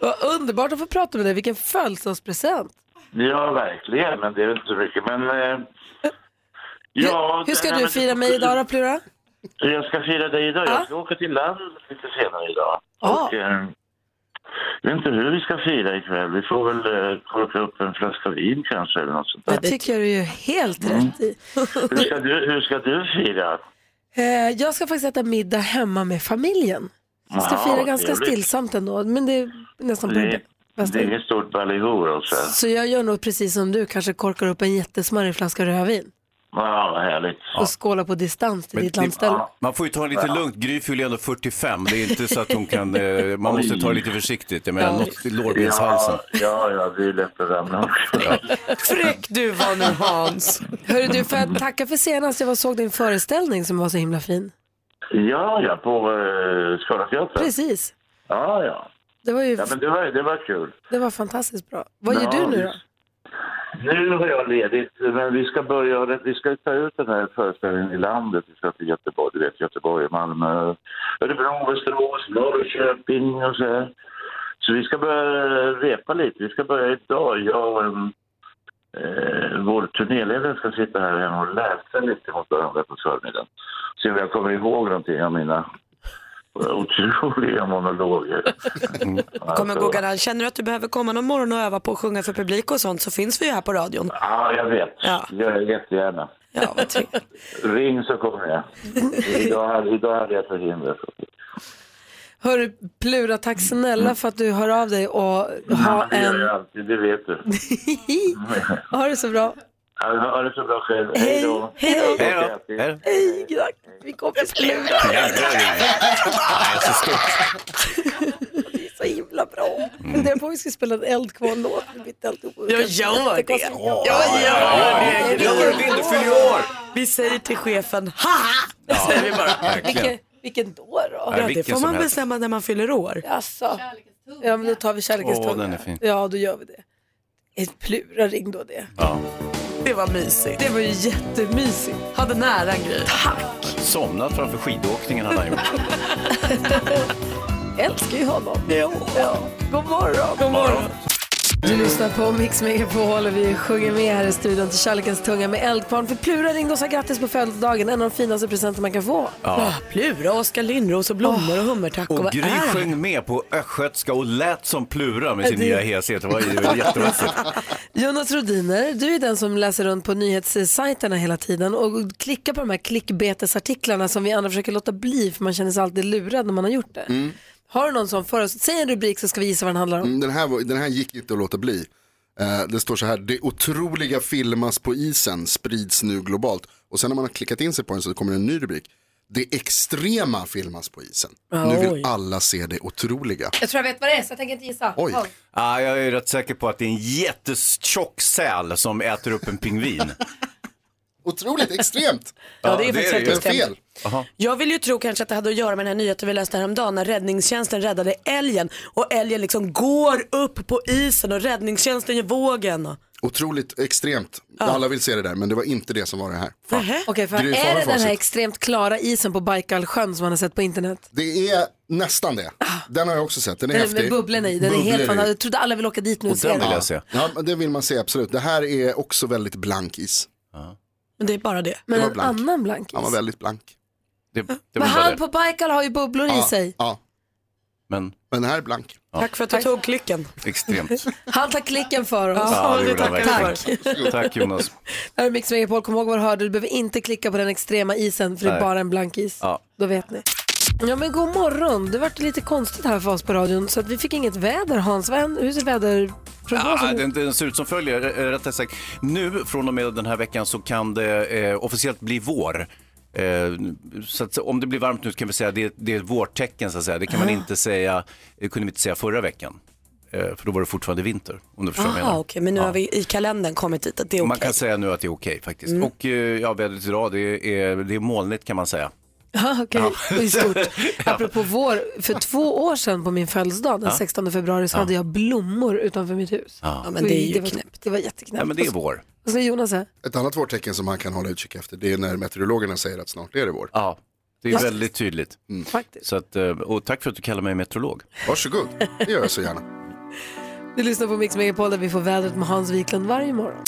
[SPEAKER 2] Vad underbart att få prata med dig. Vilken födelsedagspresent.
[SPEAKER 20] Ja, verkligen, men det är inte så mycket. Men, eh, ja,
[SPEAKER 2] Hur ska
[SPEAKER 20] nej,
[SPEAKER 2] du
[SPEAKER 20] men-
[SPEAKER 2] fira mig idag då, Plura?
[SPEAKER 20] Jag ska fira dig idag. Jag ska åka till land lite senare idag. Och, eh, jag vet inte hur vi ska fira ikväll. Vi får väl eh, korka upp en flaska vin kanske eller något sånt där.
[SPEAKER 2] Det tycker jag du är helt rätt i.
[SPEAKER 20] Hur ska du, hur ska du fira?
[SPEAKER 2] Eh, jag ska faktiskt äta middag hemma med familjen. Jag ska
[SPEAKER 20] Ja,
[SPEAKER 2] fira ganska
[SPEAKER 20] trevligt.
[SPEAKER 2] stillsamt ändå, men det är nästan på
[SPEAKER 20] Det,
[SPEAKER 2] det bästa.
[SPEAKER 20] det är inget stort alltså. ballyho också.
[SPEAKER 2] Så jag gör nog precis som du, kanske korkar upp en jättesmarrig flaska rödvin
[SPEAKER 20] Ja, vad härligt.
[SPEAKER 2] och skålar på distans till
[SPEAKER 3] Men
[SPEAKER 2] ditt
[SPEAKER 3] det-
[SPEAKER 2] landställe.
[SPEAKER 3] Man får ju ta det lite lugnt. Gry fyller ju ändå 45. Det är inte så att hon kan... eh, Man måste ta det lite försiktigt. Jag menar,
[SPEAKER 20] Ja.
[SPEAKER 3] något i lårbenshalsen.
[SPEAKER 20] Ja, ja, ja, det är lätt att ramla också.
[SPEAKER 4] Fräck du var nu Hans.
[SPEAKER 2] Hörru du, får jag tacka för senast jag var såg din föreställning som var så himla fin?
[SPEAKER 20] Ja, ja, på eh, Skara teater.
[SPEAKER 2] Precis,
[SPEAKER 20] Ja, ja.
[SPEAKER 2] det var ju
[SPEAKER 20] ja men det, var, det var kul.
[SPEAKER 2] det var fantastiskt bra. Vad gör
[SPEAKER 20] Ja,
[SPEAKER 2] du nu då?
[SPEAKER 20] visst. Nu har jag ledigt, men vi ska börja, vi ska ta ut den här föreställningen i landet. Vi ska till Göteborg, du vet Göteborg, Malmö, Örebro, Västerås, Norrköping och så här. Så vi ska börja repa lite. Vi ska börja idag. Jag och en, eh, vår turnéledare ska sitta här hemma och läsa lite mot varandra på förmiddagen. Se om jag kommer ihåg någonting av mina otroliga monologer.
[SPEAKER 4] Kommer
[SPEAKER 20] Alltså-
[SPEAKER 4] gå garant. Känner du att du behöver komma någon morgon och öva på att sjunga för publik och sånt så finns vi ju här på radion.
[SPEAKER 20] Ja, jag vet. Gör det jättegärna.
[SPEAKER 4] Ja, vad
[SPEAKER 20] Ring så kommer jag. Idag, hade- idag hade jag förhinder.
[SPEAKER 2] Hörru Plura, tack snälla för att du hör av dig och ha
[SPEAKER 20] Det gör
[SPEAKER 2] en...
[SPEAKER 20] jag alltid, det vet du.
[SPEAKER 2] Ha det så bra.
[SPEAKER 20] Ha ha det så bra själv. Hej då.
[SPEAKER 2] Hej.
[SPEAKER 3] Hej då. Hej då.
[SPEAKER 2] Hej, grack- vi kommer Plura.
[SPEAKER 3] Jävlar, Gry. Nej, så stort. Mm.
[SPEAKER 2] så himla bra. Funderar på om vi ska spela en eldkvarn-låt.
[SPEAKER 4] Jag gör det. Jag
[SPEAKER 3] gör det. Gör det, du fyller ju år.
[SPEAKER 4] Vi säger till chefen, haha!
[SPEAKER 3] Ja,
[SPEAKER 4] säger vi bara.
[SPEAKER 3] verkligen.
[SPEAKER 2] Vilken, vilken då då?
[SPEAKER 3] Ja,
[SPEAKER 4] Ja, det
[SPEAKER 3] vilken
[SPEAKER 4] får
[SPEAKER 3] som
[SPEAKER 4] man
[SPEAKER 3] helst.
[SPEAKER 4] bestämma när man fyller år.
[SPEAKER 2] Jaså? Ja, men då tar vi kärlekens
[SPEAKER 3] Åh,
[SPEAKER 2] tunga.
[SPEAKER 3] den är fin.
[SPEAKER 2] Ja, då gör vi det. Ett Plura, ring då det.
[SPEAKER 3] Ja.
[SPEAKER 4] Det var mysigt.
[SPEAKER 2] Det var ju jättemysigt.
[SPEAKER 4] Hade nära en grej.
[SPEAKER 3] Somnat framför skidåkningen hade han gjort.
[SPEAKER 2] Älskar ju honom. Ja. God morgon.
[SPEAKER 3] God morgon.
[SPEAKER 2] Du lyssnar på Mix Megapol och vi sjunger med här i studion till Kärlekens tunga med Eldkvarn. För Plura ringde och sa grattis på födelsedagen, en av de finaste presenter man kan få.
[SPEAKER 3] Ja.
[SPEAKER 4] Ah, Plura, Oskar Lindros och blommor och hummertack och
[SPEAKER 3] Och
[SPEAKER 4] vad är
[SPEAKER 3] Gry
[SPEAKER 4] det?
[SPEAKER 3] sjöng med på östgötska och lät som Plura med sin
[SPEAKER 2] Det-
[SPEAKER 3] nya heshet. Det var ju jätteroligt.
[SPEAKER 2] Jonas Rodiner, du är den som läser runt på nyhetssajterna hela tiden och klickar på de här klickbetesartiklarna som vi andra försöker låta bli för man känner sig alltid lurad när man har gjort det. Mm. Har du någon sån för oss? Säg en rubrik så ska vi gissa vad den handlar om.
[SPEAKER 9] Mm, Den här, var- den här gick inte att låta bli. Eh, det står så här, det otroliga filmas på isen sprids nu globalt. Och sen när man har klickat in sig på den så kommer det en ny rubrik. Det extrema filmas på isen.
[SPEAKER 3] Ja,
[SPEAKER 9] nu vill
[SPEAKER 3] oj.
[SPEAKER 9] alla se det otroliga.
[SPEAKER 21] Jag tror jag vet vad det är så jag tänker inte gissa.
[SPEAKER 9] Oj.
[SPEAKER 21] Ja.
[SPEAKER 3] Ja, jag är rätt säker på att det är en jättetjock säl som äter upp en pingvin.
[SPEAKER 9] Otroligt extremt.
[SPEAKER 4] Ja, det är faktiskt helt
[SPEAKER 3] ju.
[SPEAKER 4] extremt.
[SPEAKER 3] Fel. Jaha.
[SPEAKER 4] Jag vill ju tro kanske att det hade att göra med den här nyheten vi läste häromdagen när räddningstjänsten räddade älgen och älgen liksom går upp på isen och räddningstjänsten gör vågen. Och...
[SPEAKER 9] Otroligt extremt. Alla vill se det där men det var inte det som var det här. Fan.
[SPEAKER 2] Okej, för
[SPEAKER 9] Gry, får
[SPEAKER 2] är det
[SPEAKER 9] vi
[SPEAKER 2] den
[SPEAKER 9] facit?
[SPEAKER 2] här extremt klara isen på Baikalsjön som man har sett på internet?
[SPEAKER 9] Det är nästan det. Den har jag också sett, den är
[SPEAKER 2] Ah. Den
[SPEAKER 9] häftig.
[SPEAKER 2] med bubblorna i, den är
[SPEAKER 9] Bubblor
[SPEAKER 2] helt
[SPEAKER 9] i.
[SPEAKER 2] fantastisk. Jag trodde alla ville åka dit nu och se
[SPEAKER 9] Ja. Ja, men det vill man se absolut. Det här är också väldigt blank is.
[SPEAKER 4] Men det är bara det.
[SPEAKER 2] Men
[SPEAKER 9] Det var
[SPEAKER 2] en
[SPEAKER 9] blank.
[SPEAKER 2] annan blank
[SPEAKER 9] Han var väldigt blank.
[SPEAKER 2] Men han på Baikal har ju bubblor i
[SPEAKER 9] Ja.
[SPEAKER 2] sig.
[SPEAKER 9] Ja.
[SPEAKER 3] Men...
[SPEAKER 9] men den här är blank.
[SPEAKER 4] Tack för att du tog klicken.
[SPEAKER 3] Extremt.
[SPEAKER 2] Han tar klicken för oss.
[SPEAKER 3] Ja, det gjorde han verkligen.
[SPEAKER 2] Tack.
[SPEAKER 3] Tack Jonas.
[SPEAKER 2] Det här är Mix Megapol, kom ihåg vad du hörde. Du behöver inte klicka på den extrema isen för det är
[SPEAKER 3] Nej.
[SPEAKER 2] bara en blank is.
[SPEAKER 3] Ja.
[SPEAKER 2] Då vet ni. Ja men god morgon, det vart lite konstigt här för oss på radion så att vi fick inget väder Hans. Vad händer? Hur ser väderprognosen
[SPEAKER 3] Ja,
[SPEAKER 2] ut?
[SPEAKER 3] den, den ser ut som följer, eh, rättare sagt. Nu från och med den här veckan så kan det eh, officiellt bli vår. Eh, så att, om det blir varmt nu kan vi säga det, det är ett vårtecken så att säga. Det kan man inte säga, det kunde vi inte säga förra veckan. Eh, för då var det fortfarande vinter, om du förstår vad jag
[SPEAKER 4] Aha,
[SPEAKER 3] menar.
[SPEAKER 4] okej, men nu har vi i kalendern kommit dit att det är okej.
[SPEAKER 3] Man kan säga nu att det är okej faktiskt.
[SPEAKER 4] Mm.
[SPEAKER 3] Och eh, ja, vädret idag, det är, det är molnigt kan man säga.
[SPEAKER 2] Ja, okej.
[SPEAKER 3] Ja.
[SPEAKER 2] Och i stort. Apropå vår, för två år sedan på min födelsedag den
[SPEAKER 3] Ja.
[SPEAKER 2] 16 februari så
[SPEAKER 3] Ja.
[SPEAKER 2] hade jag blommor utanför mitt hus.
[SPEAKER 3] Ja.
[SPEAKER 9] Ja, men det är ju
[SPEAKER 2] Oj, var,
[SPEAKER 9] knäppt.
[SPEAKER 2] Det var jätteknäppt.
[SPEAKER 9] Ja, men det är vår.
[SPEAKER 2] Vad säger Jonas? här?
[SPEAKER 9] Ett annat vårtecken som man kan hålla utkik efter det är när meteorologerna säger att snart är det vår. Mm.
[SPEAKER 3] Ja, det är
[SPEAKER 9] Fast-
[SPEAKER 3] väldigt tydligt. Så att, eh, och tack för att du kallar mig meteorolog.
[SPEAKER 9] Varsågod, det gör jag så gärna.
[SPEAKER 2] Du lyssnar på Mix Megapol där vi får vädret med Hans Wiklund varje morgon.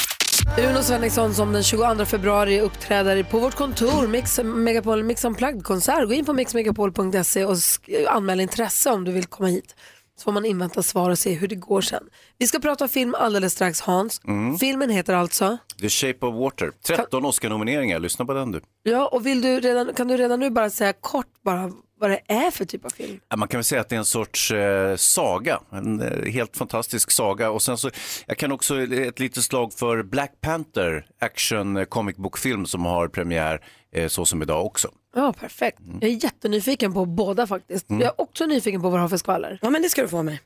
[SPEAKER 2] Uno Svensson som den 22 februari uppträder på vårt kontor, Mix Megapol Mix Unplugged-konsert. Gå in på mixmegapol.se och sk- anmäl intresse om du vill komma hit. Så får man invänta svar och se hur det går sen. Vi ska prata film alldeles strax, Hans.
[SPEAKER 3] Mm.
[SPEAKER 2] Filmen heter alltså?
[SPEAKER 3] The Shape of Water, 13 Oscar-nomineringar, lyssna på den du.
[SPEAKER 2] Ja, och vill du redan, kan du redan nu bara säga kort bara vad det är för typ av film?
[SPEAKER 3] Ja, Man kan väl säga att det är en sorts eh, saga, en eh, helt fantastisk saga. Och sen så, jag kan också eh, ett litet slag för Black Panther, action eh, comic book-film som har premiär eh, så som idag också.
[SPEAKER 2] Ja, perfekt. Jag är jättenyfiken på båda faktiskt.
[SPEAKER 3] Mm.
[SPEAKER 2] Jag är också nyfiken på vad du har för skvaller.
[SPEAKER 4] Ja, men det ska du få mig.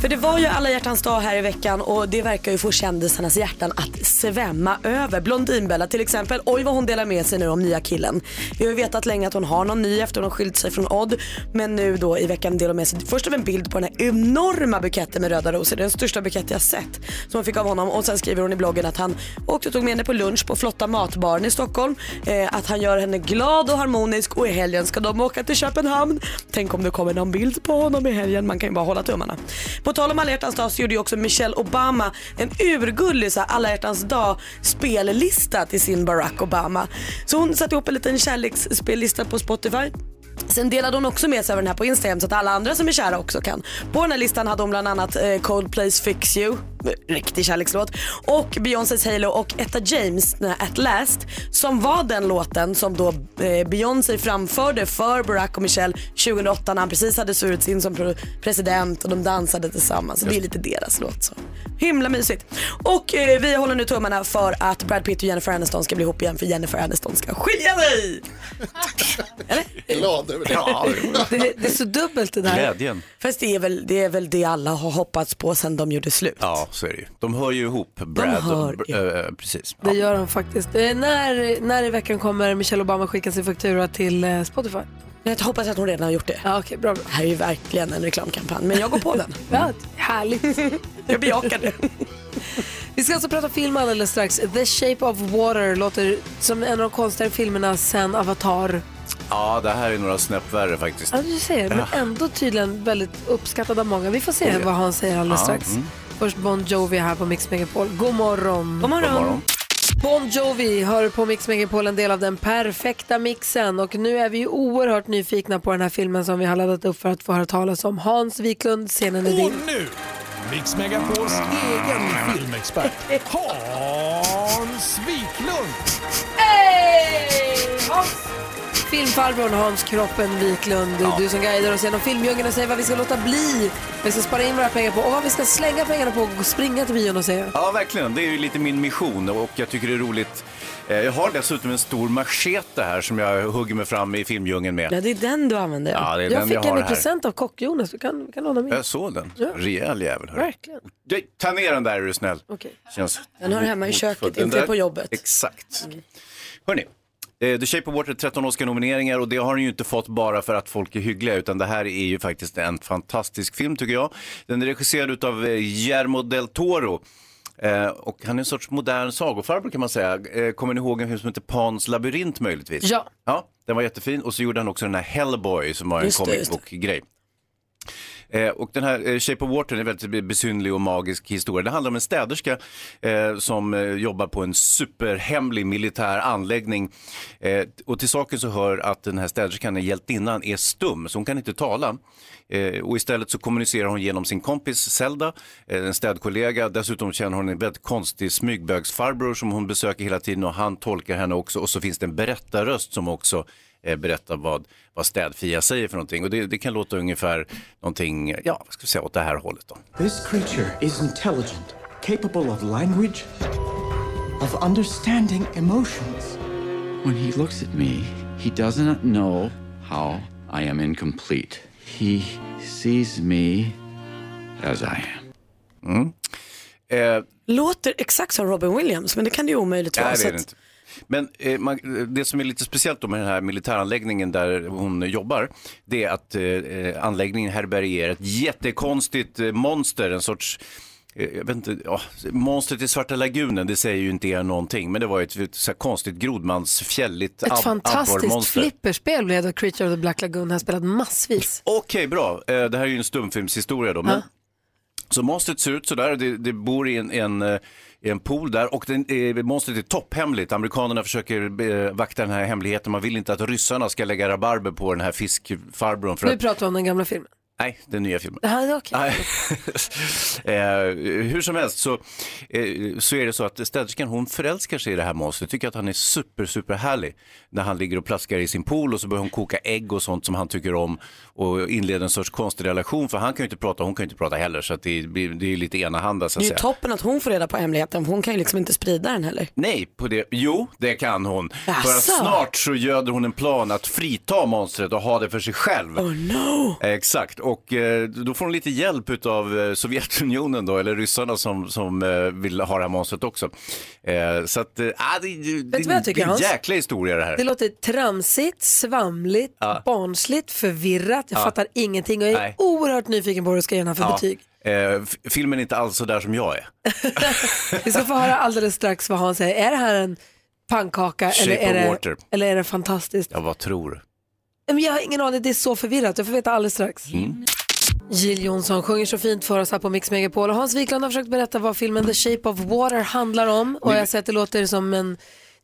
[SPEAKER 4] För det var ju alla hjärtans dag här i veckan och det verkar ju få kändisarnas hjärtan att svämma över. Blondinbella till exempel, oj vad hon delar med sig nu om nya killen. Vi har ju vetat länge att hon har någon ny efter hon har skilt sig från Odd. Men nu då i veckan delar hon med sig först av en bild på den här enorma buketten med röda rosor. Det är Den största bukett jag sett som hon fick av honom. Och sen skriver hon i bloggen att han åkte och tog med henne på lunch på Flotta Matbaren i Stockholm. Eh, att han gör henne glad och harmonisk och i helgen ska de åka till Köpenhamn. Tänk om det kommer någon bild på honom i helgen. Man kan ju bara hålla tummarna. På tal om alla hjärtans dag så gjorde ju också Michelle Obama en urgullig så här alla hjärtans dag spellista till sin Barack Obama. Så hon satte ihop en liten kärleksspellista på Spotify. Sen delade hon också med sig av den här på Instagram så att alla andra som är kära också kan. På den här listan hade hon bland annat eh, Coldplays Fix You, riktig kärlekslåt, och Beyoncés Halo och Etta James, den här At Last, som var den låten som då eh, Beyoncé framförde för Barack och Michelle 2008 när han precis hade surrats in som pro- president och de dansade tillsammans. Så det är lite deras låt. Så. Himla mysigt. Och eh, vi håller nu tummarna för att Brad Pitt och Jennifer Aniston ska bli ihop igen för Jennifer Aniston ska skilja sig.
[SPEAKER 9] Glad över det.
[SPEAKER 2] det, det är så dubbelt det där.
[SPEAKER 3] Glädjen.
[SPEAKER 4] Fast det är, väl, det är väl det alla har hoppats på sen de gjorde slut.
[SPEAKER 3] Ja, så är det ju. De hör ju ihop, Brad.
[SPEAKER 4] hör
[SPEAKER 3] och, eh, precis.
[SPEAKER 2] Det gör de faktiskt. Eh, när, när i veckan kommer Michelle Obama skicka sin faktura till eh, Spotify?
[SPEAKER 4] Jag hoppas att hon redan har gjort det.
[SPEAKER 2] Ja, okay, bra, bra.
[SPEAKER 4] Det här är ju verkligen en reklamkampanj, men jag går på den.
[SPEAKER 2] Ja, härligt.
[SPEAKER 4] jag bejakar det.
[SPEAKER 2] Vi ska alltså prata film alldeles strax. The Shape of Water låter som en av de konstigare filmerna sen Avatar.
[SPEAKER 3] Ja, det här är några snäpp värre faktiskt.
[SPEAKER 2] Ja, du ser, men
[SPEAKER 3] Ja.
[SPEAKER 2] ändå tydligen väldigt uppskattad av många. Vi får se
[SPEAKER 3] Oh, ja.
[SPEAKER 2] vad han säger alldeles
[SPEAKER 3] Ja,
[SPEAKER 2] strax.
[SPEAKER 3] mm.
[SPEAKER 2] Först Bon Jovi här på Mix Megapol. God morgon!
[SPEAKER 16] God morgon. God morgon.
[SPEAKER 2] Bon Jovi hör på Mix Megapol en del av den perfekta mixen och nu är vi ju oerhört nyfikna på den här filmen som vi har laddat upp för att få höra talas om. Hans Wiklund, scenen är din.
[SPEAKER 21] nu, Mix Megapols egen filmexpert Hans Wiklund.
[SPEAKER 2] Filmfarbrorn Hans Kroppen Wiklund,
[SPEAKER 21] Ja.
[SPEAKER 2] du som guidar oss genom filmdjungeln och säger vad vi ska låta bli, vad vi ska spara in våra pengar på och vad vi ska slänga pengarna på och springa till bion och se.
[SPEAKER 3] Ja, verkligen. Det är ju lite min mission och jag tycker det är roligt. Eh, Jag har dessutom en stor machete här som jag hugger mig fram i filmdjungeln med.
[SPEAKER 2] det är den du använder.
[SPEAKER 3] Ja, det är
[SPEAKER 2] jag
[SPEAKER 3] den
[SPEAKER 2] fick
[SPEAKER 3] jag
[SPEAKER 2] en
[SPEAKER 3] har
[SPEAKER 2] i
[SPEAKER 3] här.
[SPEAKER 2] present av Kock-Jonas, du kan, du kan låna min.
[SPEAKER 3] Jag såg den.
[SPEAKER 2] Ja.
[SPEAKER 3] Rejäl jävel. hörru.
[SPEAKER 2] Verkligen.
[SPEAKER 3] Du, Ta ner den där är du snäll.
[SPEAKER 2] Okej.
[SPEAKER 3] Känns
[SPEAKER 4] Den hör hemma i
[SPEAKER 3] hotfull.
[SPEAKER 4] köket,
[SPEAKER 3] Den
[SPEAKER 4] inte
[SPEAKER 3] där-
[SPEAKER 4] på jobbet. Mm.
[SPEAKER 3] Exakt. Hörni, eh, The Shape of Water 13 Oscar-nomineringar och det har den ju inte fått bara för att folk är hyggliga utan det här är ju faktiskt en fantastisk film tycker jag. Den är regisserad av Guillermo del Toro. Eh, och han är en sorts modern sagofarbror kan man säga. Eh, kommer ni ihåg en film som heter Pans labyrint möjligtvis?
[SPEAKER 2] Ja.
[SPEAKER 3] Ja, den var jättefin. Och så gjorde han också den här Hellboy som var en
[SPEAKER 2] Just det, just
[SPEAKER 3] comic
[SPEAKER 2] det.
[SPEAKER 3] book-grej. Eh, och den här eh, Shape of Water är en väldigt besynlig och magisk historia. Det handlar om en städerska eh, som eh, jobbar på en superhemlig militär anläggning. Eh, och till saken så hör att den här städerskan, den hjältinnan, är stum så hon kan inte tala. Eh, och istället så kommunicerar hon genom sin kompis Zelda, eh, en städkollega. Dessutom känner hon en väldigt konstig smygbögsfarbror som hon besöker hela tiden och han tolkar henne också. Och så finns det en berättarröst som också eh, berätta vad, vad städfia säger för någonting. Och det, det kan låta ungefär någonting, ja, vad ska vi säga, åt det här hållet då.
[SPEAKER 22] This creature is intelligent, capable of language, of understanding emotions.
[SPEAKER 7] When he looks at me, he doesn't know how I am incomplete. He sees me as I am.
[SPEAKER 3] Mm. Eh,
[SPEAKER 4] Låter exakt som Robin Williams, men det kan det ju omöjligt vara.
[SPEAKER 3] Nej,
[SPEAKER 4] så
[SPEAKER 3] det är det
[SPEAKER 4] att-
[SPEAKER 3] inte. Men eh, man, det som är lite speciellt då med den här militäranläggningen där hon jobbar, det är att eh, eh, anläggningen härbärgerar ett jättekonstigt eh, monster, en sorts eh, jag vet inte, ja, monstret i Svarta lagunen, det säger ju inte er någonting, men det var ju ett, ett så här konstigt grodmansfjälligt
[SPEAKER 2] Ett fantastiskt
[SPEAKER 3] abborrmonster.
[SPEAKER 2] flipperspel blev det av Creature of the Black Lagoon, har spelat massvis.
[SPEAKER 3] Okej, bra. Eh, Det här är ju en stumfilmshistoria då. Men... Så monstret ser ut sådär, det, det bor i en, en, eh, i en pool där och den, eh, monstret är topphemligt. Amerikanerna försöker eh, vakta den här hemligheten. Man vill inte att ryssarna ska lägga rabarber på den här fiskfarbrorn. För
[SPEAKER 2] Nu
[SPEAKER 3] att,
[SPEAKER 2] pratar vi om den gamla filmen.
[SPEAKER 3] nej, den nya filmen.
[SPEAKER 2] Det här är okej.
[SPEAKER 3] Nej. eh, hur som helst så, eh, så är det så att städerskan hon förälskar sig i det här monstret, tycker att han är super, super härlig när han ligger och plaskar i sin pool och så börjar hon koka ägg och sånt som han tycker om och inleder en sorts konstig relation för han kan ju inte prata, hon kan ju inte prata heller så att det, blir- det är lite enahanda så
[SPEAKER 4] Det
[SPEAKER 3] att
[SPEAKER 4] är ju
[SPEAKER 3] säga.
[SPEAKER 4] toppen att hon får reda på hemligheten, för hon kan ju liksom inte sprida den heller.
[SPEAKER 3] Nej, på det. jo det kan hon. För att
[SPEAKER 4] Jaså?
[SPEAKER 3] snart så göder hon en plan att frita monstret och ha det för sig själv.
[SPEAKER 4] Oh no!
[SPEAKER 3] Eh, Exakt, och eh, då får hon lite hjälp av Sovjetunionen då, eller ryssarna som, som eh, vill ha det här monstret också. Eh, Så att, eh, ah, det, det,
[SPEAKER 2] du vad jag
[SPEAKER 3] det
[SPEAKER 2] tycker,
[SPEAKER 3] är en
[SPEAKER 2] Hans?
[SPEAKER 3] jäkla historia det här.
[SPEAKER 2] Det låter tramsigt, svamligt,
[SPEAKER 3] Ja.
[SPEAKER 2] barnsligt, förvirrat. Jag
[SPEAKER 3] Ja.
[SPEAKER 2] fattar ingenting och jag är
[SPEAKER 3] Nej.
[SPEAKER 2] oerhört nyfiken på vad du ska ge den här för
[SPEAKER 3] Ja.
[SPEAKER 2] betyg.
[SPEAKER 3] Eh, f- Filmen är inte alls så där som jag är.
[SPEAKER 2] Vi ska få höra alldeles strax vad han säger. Är det här en pannkaka
[SPEAKER 3] Shape
[SPEAKER 2] eller är,
[SPEAKER 3] of
[SPEAKER 2] det,
[SPEAKER 3] water.
[SPEAKER 2] eller är det fantastiskt?
[SPEAKER 3] Ja, vad tror du?
[SPEAKER 2] Men jag har ingen aning, det är så förvirrat. Jag får veta alldeles strax.
[SPEAKER 3] Mm.
[SPEAKER 2] Jill Johnson sjunger så fint för oss här på Mix Megapol och Hans Wiklund har försökt berätta vad filmen The Shape of Water handlar om och jag har sett det låter som en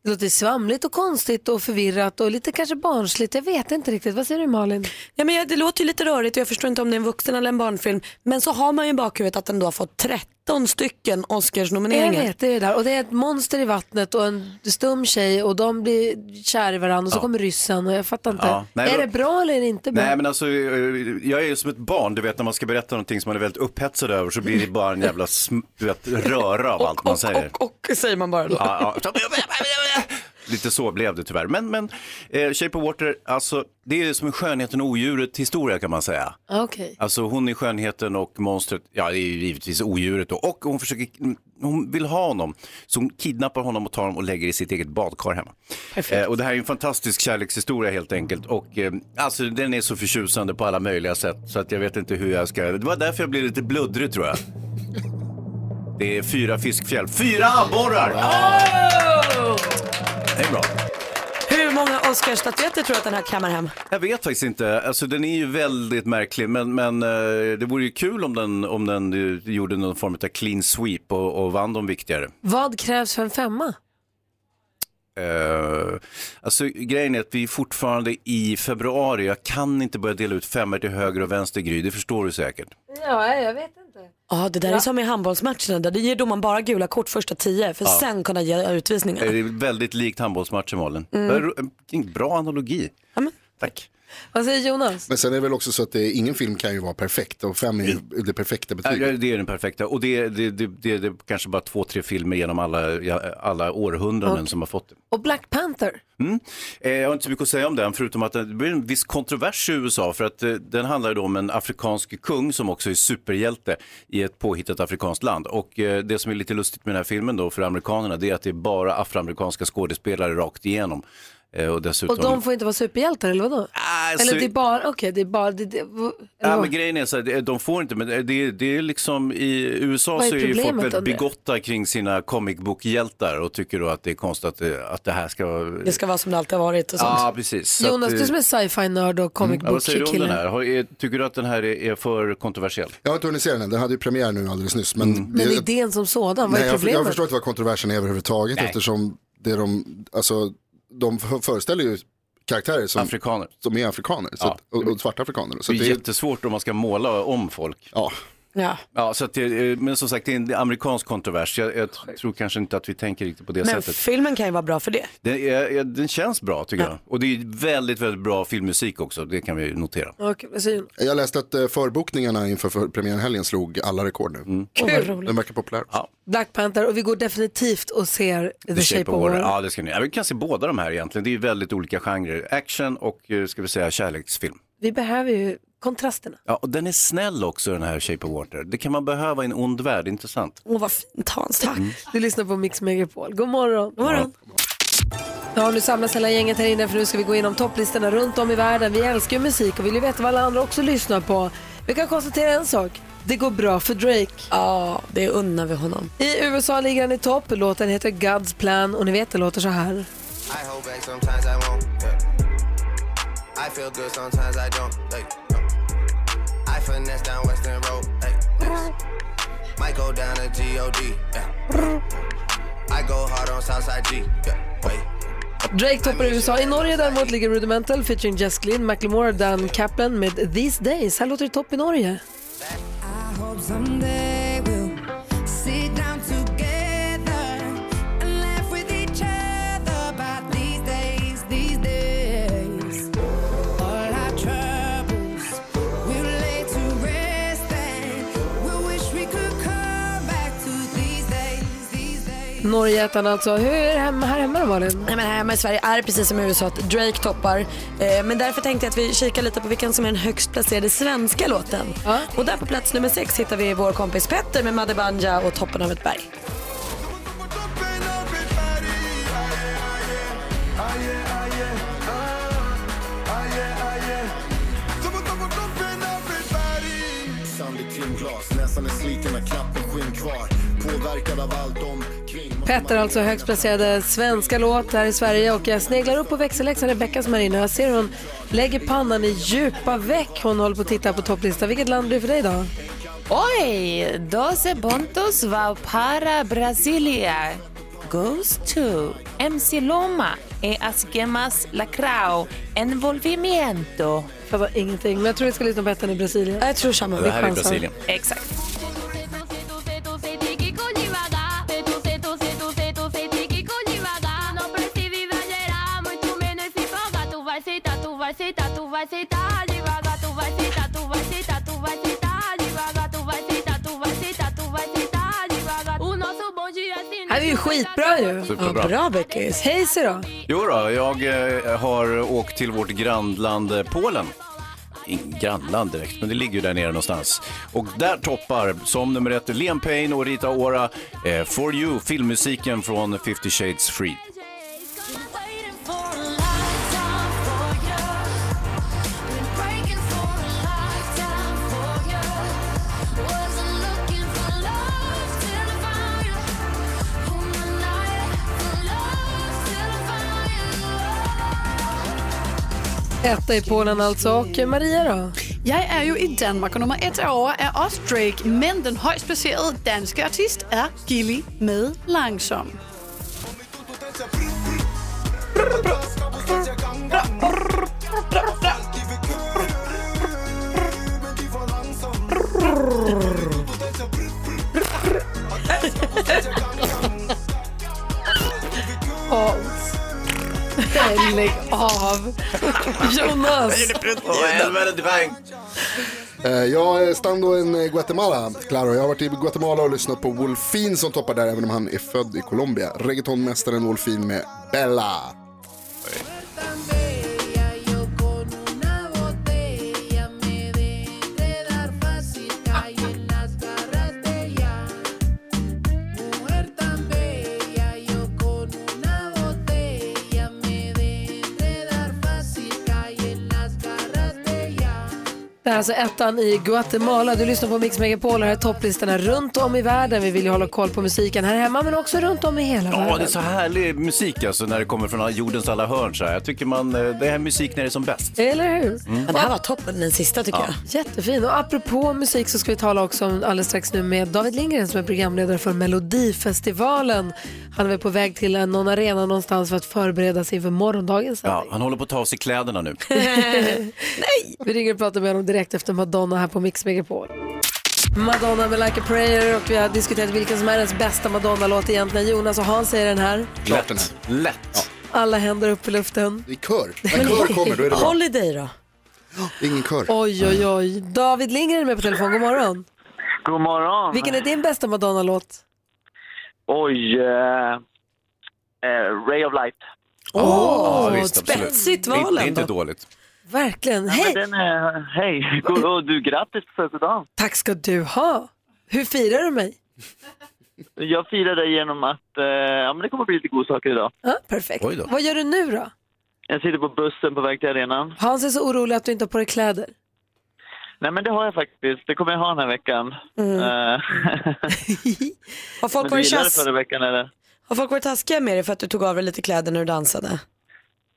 [SPEAKER 2] det låter svamligt och konstigt och förvirrat och lite kanske barnsligt. Jag vet inte riktigt. Vad säger du Malin?
[SPEAKER 4] Ja, men jag- det låter ju lite rörigt och jag förstår inte om det är en vuxen eller en barnfilm. Men så har man ju i bakhuvudet att den då har fått 13 stycken
[SPEAKER 2] Jag
[SPEAKER 4] Oscarsnomineringar.
[SPEAKER 2] vet, det är det där. Och det är ett monster i vattnet och en stum tjej och de blir kär i varandra och så
[SPEAKER 3] Ja.
[SPEAKER 2] kommer ryssen och jag fattar inte.
[SPEAKER 3] Ja. Nej,
[SPEAKER 2] är
[SPEAKER 3] men-
[SPEAKER 2] det bra eller är det inte bra?
[SPEAKER 3] Nej men alltså, eh, jag är ju som ett barn, du vet när man ska berätta någonting som man är väldigt upphetsad över så blir det bara en jävla sm- du vet, röra av allt man säger.
[SPEAKER 4] Och säger man bara då.
[SPEAKER 3] Ja, ja. Lite så blev det tyvärr. Men, men eh, Shape of Water, alltså, det är som en skönheten och odjuret historia kan man säga.
[SPEAKER 2] Ah, Okej.
[SPEAKER 3] Alltså hon är skönheten och monstret, ja det är ju givetvis odjuret då. Och hon försöker, hon vill ha honom. Så hon kidnappar honom och tar honom och lägger i sitt eget badkar hemma. Eh, och det här är ju en fantastisk kärlekshistoria helt enkelt. Och eh, alltså den är så förtjusande på alla möjliga sätt. Så att jag vet inte hur jag ska, det var därför jag blev lite bluddrig tror jag. Det är fyra fiskfjäll. Fyra abborrar! Det är bra.
[SPEAKER 4] Hur många Oscarsstatyetter tror du att den här kammar hem?
[SPEAKER 3] Jag vet faktiskt inte. Alltså, den är ju väldigt märklig, men, men eh, det vore ju kul om den, om den eh, gjorde någon form av clean sweep och, och vann de viktigare.
[SPEAKER 2] Vad krävs för en femma?
[SPEAKER 3] Eh, alltså, grejen är att vi är fortfarande i februari. Jag kan inte börja dela ut femmor till höger och vänster, Gry. Det förstår du säkert.
[SPEAKER 2] Ja, jag vet inte.
[SPEAKER 4] Ja, det där är som i handbollsmatcherna. Där det ger domaren bara gula kort första tio för
[SPEAKER 3] Ja.
[SPEAKER 4] sen kunna ge utvisningar.
[SPEAKER 3] Eh, Det är väldigt likt handbollsmatchen, Malin.
[SPEAKER 2] Mm.
[SPEAKER 3] Det är ro- en Bra analogi. Tack.
[SPEAKER 2] Vad säger Jonas?
[SPEAKER 9] Men sen är det väl också så att det, ingen film kan ju vara perfekt och fem är ju det perfekta
[SPEAKER 3] Ja,
[SPEAKER 9] betyget.
[SPEAKER 3] ja, det är den perfekta. Och det, det, det, det, det är kanske bara två, tre filmer genom alla, ja, alla århundraden
[SPEAKER 2] Okej.
[SPEAKER 3] som har fått det.
[SPEAKER 2] Och Black Panther?
[SPEAKER 3] Mm. Eh, jag har inte så mycket att säga om den, förutom att det blir en viss kontrovers i USA, för att eh, den handlar ju då om en afrikansk kung som också är superhjälte i ett påhittat afrikanskt land. Och eh, det som är lite lustigt med den här filmen då för amerikanerna, det är att det är bara afroamerikanska skådespelare rakt igenom. Eh, och dessutom...
[SPEAKER 2] Och de får inte vara superhjältar eller vadå?
[SPEAKER 3] Alltså-
[SPEAKER 2] Eller det är bara, okej det är bara, det, det, eller
[SPEAKER 3] Ja,
[SPEAKER 2] vad?
[SPEAKER 3] Ah, men grejen är så här, de får inte, men eh, det, det är liksom i USA
[SPEAKER 2] Vad är
[SPEAKER 3] så är ju folk
[SPEAKER 2] problemet
[SPEAKER 3] väldigt
[SPEAKER 2] om det?
[SPEAKER 3] bigotta kring sina comic book-hjältar och tycker då att det är konstigt att, det- att det här ska vara...
[SPEAKER 4] Det ska vara som det alltid har varit och sånt.
[SPEAKER 3] Ja, Ah, precis. Så
[SPEAKER 2] Jonas,
[SPEAKER 3] att,
[SPEAKER 2] du som är sci-fi-nörd och comic
[SPEAKER 3] ja, vad säger du om den
[SPEAKER 2] book-kille.
[SPEAKER 3] här? Har, är, tycker du att den här är, är för kontroversiell?
[SPEAKER 9] Jag har inte hunnit se den än, den hade ju premiär nu alldeles nyss. Men,
[SPEAKER 3] Mm.
[SPEAKER 9] det-
[SPEAKER 2] Men idén som sådan, vad
[SPEAKER 9] nej,
[SPEAKER 2] är
[SPEAKER 9] jag, jag
[SPEAKER 2] problemet?
[SPEAKER 9] förstår inte vad kontroversen är överhuvudtaget eftersom det de, alltså, de f- föreställer ju karaktärer som,
[SPEAKER 3] afrikaner.
[SPEAKER 9] som är afrikaner så att, och, och svarta afrikaner. Så
[SPEAKER 3] det
[SPEAKER 9] att
[SPEAKER 3] är
[SPEAKER 9] det är,
[SPEAKER 3] jättesvårt om man ska måla om folk.
[SPEAKER 9] Ja.
[SPEAKER 4] Ja.
[SPEAKER 3] Ja, så att det, är- men som sagt, det är en amerikansk kontrovers. Jag, jag tror kanske inte att vi tänker riktigt på det
[SPEAKER 4] Men
[SPEAKER 3] sättet.
[SPEAKER 4] filmen kan ju vara bra för det.
[SPEAKER 3] Den, är, den känns bra tycker jag. Och det är väldigt, väldigt bra filmmusik också. Det kan vi notera.
[SPEAKER 2] Okej, vad säger Jonas?
[SPEAKER 9] jag läste att eh, förbokningarna inför för premiärhelgen slog alla rekord nu.
[SPEAKER 3] Mm.
[SPEAKER 2] Åh, vad roligt.
[SPEAKER 9] Den verkar populär.
[SPEAKER 2] Black Panther och vi går definitivt och ser The, Shape, of Water.
[SPEAKER 3] Ja, det ska ni. Ja, vi kan se båda de här egentligen. Det är ju väldigt olika genrer. Action och, eh, ska vi säga, kärleksfilm.
[SPEAKER 2] Vi behöver ju kontrasterna.
[SPEAKER 3] Ja, och den är snäll också den här Shape of Water. Det kan man behöva i en ond värld, intressant. Mm.
[SPEAKER 4] Åh, vad fint Hans, tack.
[SPEAKER 2] Du lyssnar på Mix Megapol. God morgon. God morgon. Ja, nu samlas hela gänget här inne för nu ska vi gå igenom topplistorna runt om i världen. Vi älskar ju musik och vill ju veta vad alla andra också lyssnar på. Vi kan konstatera en sak. Det går bra för Drake.
[SPEAKER 4] Ja, det unnar vi honom.
[SPEAKER 2] I USA ligger han i topp. Låten heter God's Plan och ni vet det låter så här.
[SPEAKER 6] I hold back sometimes I won't. Yeah. I feel good sometimes I don't. Like, no. I finesse down Western Road. Like, this. Might go down to G.O.D. Yeah. I go hard on Southside G. Yeah. Wait.
[SPEAKER 2] Drake toppar i USA. I Norge däremot ligger Rudimental featuring Jess Glynn, Macklemore och Dan Kaplan med These Days. Här låter det topp i Norge.
[SPEAKER 11] I hope someday we'll sit down together and laugh with each other about these days, these days. All our troubles we'll lay to rest and we wish we could come back to these days, these days.
[SPEAKER 2] Norgejättarna alltså. Hur är det hemma, här hemma då Malin?
[SPEAKER 4] Nej, men här hemma i Sverige är det precis som i USA att Drake toppar. Eh, men därför tänkte jag att vi kikar lite på vilken som är den högst placerade svenska låten. Och där på plats nummer sex hittar vi vår kompis Petter med Madde Banja och Toppen av ett berg.
[SPEAKER 1] Sand i timglas, näsan är sliten har knappt en skinn kvar. Påverkad av allt omkring.
[SPEAKER 2] Petter alltså högst placerade svenska låt här i Sverige och jag sneglar upp på växelläxan Rebeckas Marina. Jag ser hon lägger pannan i djupa veck. Hon håller på att titta på topplistan. Vilket land blir det för dig då?
[SPEAKER 18] Oj, Doce Bontos va para Brasilia. Goes to MC Loma e as gemas lacrao envolvimiento.
[SPEAKER 2] Fattar ingenting, men jag tror vi ska lyssna på ettan i Brasilien. Jag tror samma.
[SPEAKER 3] Det här är Brasilien.
[SPEAKER 18] Exakt.
[SPEAKER 2] Här är ju skitbra ju.
[SPEAKER 3] Superbra.
[SPEAKER 2] Ja, bra Beckis. Hayes då?
[SPEAKER 3] Jo då, jag eh, har åkt till vårt grannland eh, Polen. Ingen grannland direkt, men det ligger ju där nere någonstans. Och där toppar som nummer ett Liam Payne och Rita Ora eh, For You, filmmusiken från 50 Shades Free.
[SPEAKER 11] Wasn't looking for love till I
[SPEAKER 2] Etta i Polen alltså. Och Maria då?
[SPEAKER 13] Jeg er jo i Danmark, og nummer et over er også Drake, men den højst placerede danske artist er Gilly med Langsom.
[SPEAKER 2] Åh. Nej, Lägg av. Jonas.
[SPEAKER 9] Eh, Jag eh, stando en eh, Guatemala, Claro. Jag har varit i Guatemala och lyssnat på Wolfin som toppar där, även om han är född i Colombia. Reggaetonmästaren Wolfin med Bella.
[SPEAKER 2] Det här är alltså ettan i Guatemala. Du lyssnar på Mix Megapol. Här är topplistorna runt om i världen. Vi vill ju hålla koll på musiken här hemma men också runt om i hela
[SPEAKER 3] Ja, det är
[SPEAKER 2] världen.
[SPEAKER 3] så härlig musik alltså när det kommer från jordens alla hörn. Så här. Jag tycker man, eh, det här musik när det är som bäst.
[SPEAKER 2] Eller hur?
[SPEAKER 3] Mm.
[SPEAKER 2] det här var
[SPEAKER 4] toppen, den sista
[SPEAKER 3] tycker Ja.
[SPEAKER 2] Jättefin. Och apropå musik så ska vi tala också om alldeles strax nu med David Lindgren som är programledare för Melodifestivalen. Han är väl på väg till en- någon arena någonstans för att förbereda sig inför morgondagens
[SPEAKER 3] Ja, han håller på att ta av sig kläderna nu.
[SPEAKER 2] Nej! Vi ringer och pratar med honom direkt efter Madonna här på Mix Megapol. Madonna med Like a Prayer och vi har diskuterat vilken som är ens bästa Madonna-låt egentligen. Jonas och Hans säger den här.
[SPEAKER 3] Lätt. Lätt.
[SPEAKER 2] Alla händer upp i luften.
[SPEAKER 9] I kör. När kör kommer, då är det bra.
[SPEAKER 4] Holiday då?
[SPEAKER 3] Mm,
[SPEAKER 9] Ingen kör.
[SPEAKER 2] Oj, oj, oj. David Lindgren är med på telefon. God morgon.
[SPEAKER 5] God morgon.
[SPEAKER 2] Vilken är din bästa Madonna-låt?
[SPEAKER 5] Oj. eh, eh, Ray of Light.
[SPEAKER 2] Åh,
[SPEAKER 3] Ja, visst, absolut.
[SPEAKER 2] spetsigt
[SPEAKER 3] Det är-
[SPEAKER 2] val
[SPEAKER 3] Det är inte
[SPEAKER 2] ändå.
[SPEAKER 3] dåligt.
[SPEAKER 2] Verkligen. Hej!
[SPEAKER 5] Hej, god- och du grattis på födelsedagen.
[SPEAKER 2] Tack ska du ha. Hur firar du mig?
[SPEAKER 5] Jag firar dig genom att eh, ja, men det kommer bli lite godsaker idag.
[SPEAKER 2] Ja, perfekt.
[SPEAKER 5] Oj då.
[SPEAKER 2] Vad gör du nu då?
[SPEAKER 5] Jag sitter på bussen på väg till arenan.
[SPEAKER 2] Hans är så orolig att du inte har på dig kläder.
[SPEAKER 5] Nej, men det har jag faktiskt. Det kommer jag ha den här veckan.
[SPEAKER 4] Mm.
[SPEAKER 5] Eh,
[SPEAKER 4] Har folk,
[SPEAKER 5] men du
[SPEAKER 4] varit
[SPEAKER 5] gillade
[SPEAKER 4] tjas-
[SPEAKER 5] förra veckan eller?
[SPEAKER 4] har folk varit taskiga med dig för att du tog av dig lite kläder när du dansade?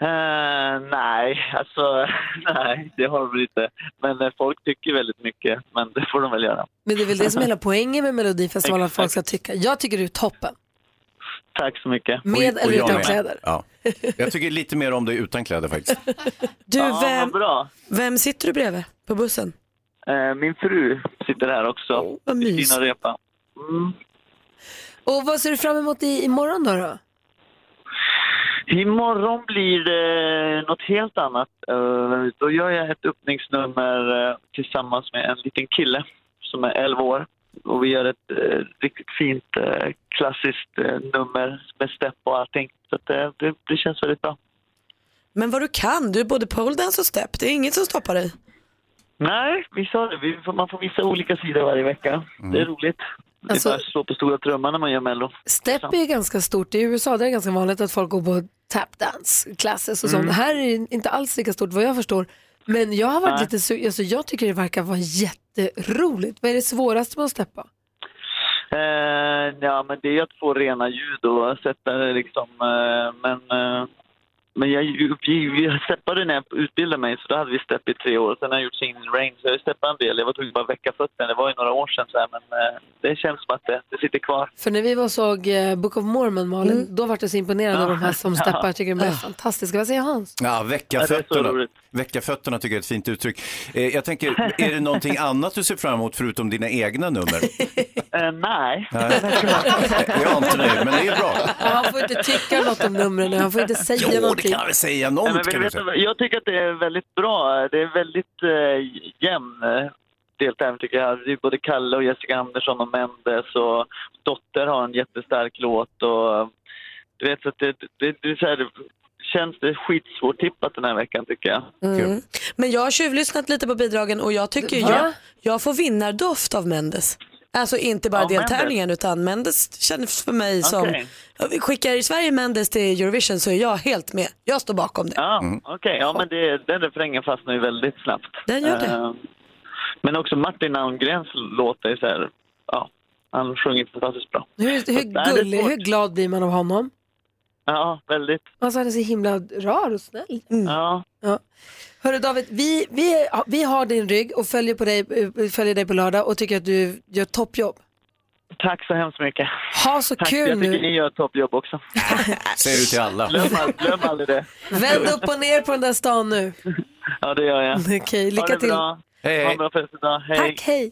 [SPEAKER 5] Eh, nej, alltså nej, det har de väl inte. Men eh, folk tycker väldigt mycket, men det får de väl göra.
[SPEAKER 2] Men det är väl det som är hela poängen med Melodifestivalen, att folk ska tycka. Jag tycker du är toppen.
[SPEAKER 5] Tack så mycket.
[SPEAKER 2] Med
[SPEAKER 3] Och- och
[SPEAKER 2] eller
[SPEAKER 3] jag
[SPEAKER 2] utan
[SPEAKER 3] med.
[SPEAKER 2] kläder?
[SPEAKER 3] Ja. Jag tycker lite mer om dig utan kläder faktiskt.
[SPEAKER 4] Du,
[SPEAKER 5] Ja,
[SPEAKER 4] vem,
[SPEAKER 5] vad
[SPEAKER 4] vem sitter du bredvid på bussen?
[SPEAKER 5] Eh, min fru sitter här också,
[SPEAKER 4] vad
[SPEAKER 5] Kristina Repa. Mm.
[SPEAKER 2] Och vad ser du fram emot i, imorgon då? då?
[SPEAKER 5] Imorgon blir det något helt annat. Eh, Då gör jag ett öppningsnummer eh, tillsammans med en liten kille som är 11 år. Och vi gör ett eh, riktigt fint eh, klassiskt eh, nummer med step och allting. Så att, eh, det, det känns väldigt bra.
[SPEAKER 4] Men vad du kan, du är både poledance och step. Det är inget som stoppar dig.
[SPEAKER 5] Nej, vi sa det. Vi får, man får visa olika sidor varje vecka. Det är roligt. det är bara att slå på stora trumman när man gör Mello.
[SPEAKER 2] Step är ju ganska stort. I USA där är det ganska vanligt att folk går på tapdance, classes och sånt.
[SPEAKER 5] Mm.
[SPEAKER 2] Här är det inte alls lika stort vad jag förstår. Men jag har varit
[SPEAKER 5] Nej.
[SPEAKER 2] lite sugen, alltså, jag tycker det verkar vara jätteroligt. Vad är det svåraste med att steppa?
[SPEAKER 5] Eh, ja, men det är att få rena ljud och sätta det liksom. Eh, men eh, men jag, vi, vi steppade när jag utbildade mig, så då hade vi stepp i tre år. Sen har jag gjort singing rain, så jag har steppat en del. Jag var tvungen bara att väcka fötterna. Det var ju några år sedan, så här, men eh, det känns som att det, det sitter kvar.
[SPEAKER 2] För när vi var och såg eh, Book of Mormon, Malin, då var jag så imponerad av de här som
[SPEAKER 5] Mm. Ja.
[SPEAKER 2] steppar. Jag tycker de är fantastiska. Vad säger Hans?
[SPEAKER 3] Ja, väcka fötterna. Väcka fötterna tycker jag är ett fint uttryck. Eh, jag tänker, är det någonting annat du ser fram emot förutom dina egna nummer?
[SPEAKER 5] Eh, nej.
[SPEAKER 3] Nej. Jag antar det, men det är bra.
[SPEAKER 2] Ja, han får inte tycka något om numren, han får inte säga
[SPEAKER 3] Jo, det
[SPEAKER 2] någonting.
[SPEAKER 3] kan jag väl säga.
[SPEAKER 5] Nej,
[SPEAKER 3] Något
[SPEAKER 5] men
[SPEAKER 3] kan
[SPEAKER 5] vet
[SPEAKER 3] du
[SPEAKER 5] du
[SPEAKER 3] säga.
[SPEAKER 5] vad? jag tycker att det är väldigt bra. Det är väldigt eh, jämn eh, deltävling tycker jag. Det är både Kalle och Jessica Andersson och Mendes och Dotter har en jättestark låt och eh, du vet så att det, det, det, är så här, det känns det skitsvårtippat den här veckan tycker jag.
[SPEAKER 4] Mm. Men jag har tjuvlyssnat lite på bidragen och jag tycker ju
[SPEAKER 5] Va?
[SPEAKER 4] jag, jag får vinnardoft av Mendes. Alltså inte bara
[SPEAKER 5] Ja,
[SPEAKER 4] deltävlingen utan Mendes känns för mig
[SPEAKER 5] Okej.
[SPEAKER 4] som, skickar Sverige Mendes till Eurovision så är jag helt med. Jag står bakom det. Mm.
[SPEAKER 5] Ja,
[SPEAKER 3] Mm.
[SPEAKER 5] okej. Ja, men det, den refrängen fastnar ju väldigt snabbt.
[SPEAKER 4] Den gör det.
[SPEAKER 5] Eh, Men också Martin Almgrens låt är så här, ja, han sjunger fantastiskt bra.
[SPEAKER 2] Hur,
[SPEAKER 5] Så att, nej, det
[SPEAKER 2] hur
[SPEAKER 5] är
[SPEAKER 2] gullig, hur glad blir man av honom?
[SPEAKER 5] Ja, väldigt.
[SPEAKER 23] Alltså han är så himla rar och snäll.
[SPEAKER 5] Mm. Ja.
[SPEAKER 23] Ja. Hörru David, vi, vi, vi har din rygg och följer, på dig, eh, följer dig på lördag och tycker att du gör ett toppjobb.
[SPEAKER 5] Tack så hemskt mycket.
[SPEAKER 23] Ha så
[SPEAKER 5] Tack,
[SPEAKER 23] kul
[SPEAKER 5] jag tycker
[SPEAKER 23] nu.
[SPEAKER 5] ni gör ett toppjobb också.
[SPEAKER 1] Säger du till alla.
[SPEAKER 5] Glöm, all- glöm aldrig det.
[SPEAKER 23] Vänd upp och ner på den där stan nu.
[SPEAKER 5] Ja, det gör jag.
[SPEAKER 23] Okej, lycka
[SPEAKER 5] ha det
[SPEAKER 23] till.
[SPEAKER 5] Bra.
[SPEAKER 1] Hej,
[SPEAKER 5] Ha en bra fest idag. Hej.
[SPEAKER 23] Tack, hej.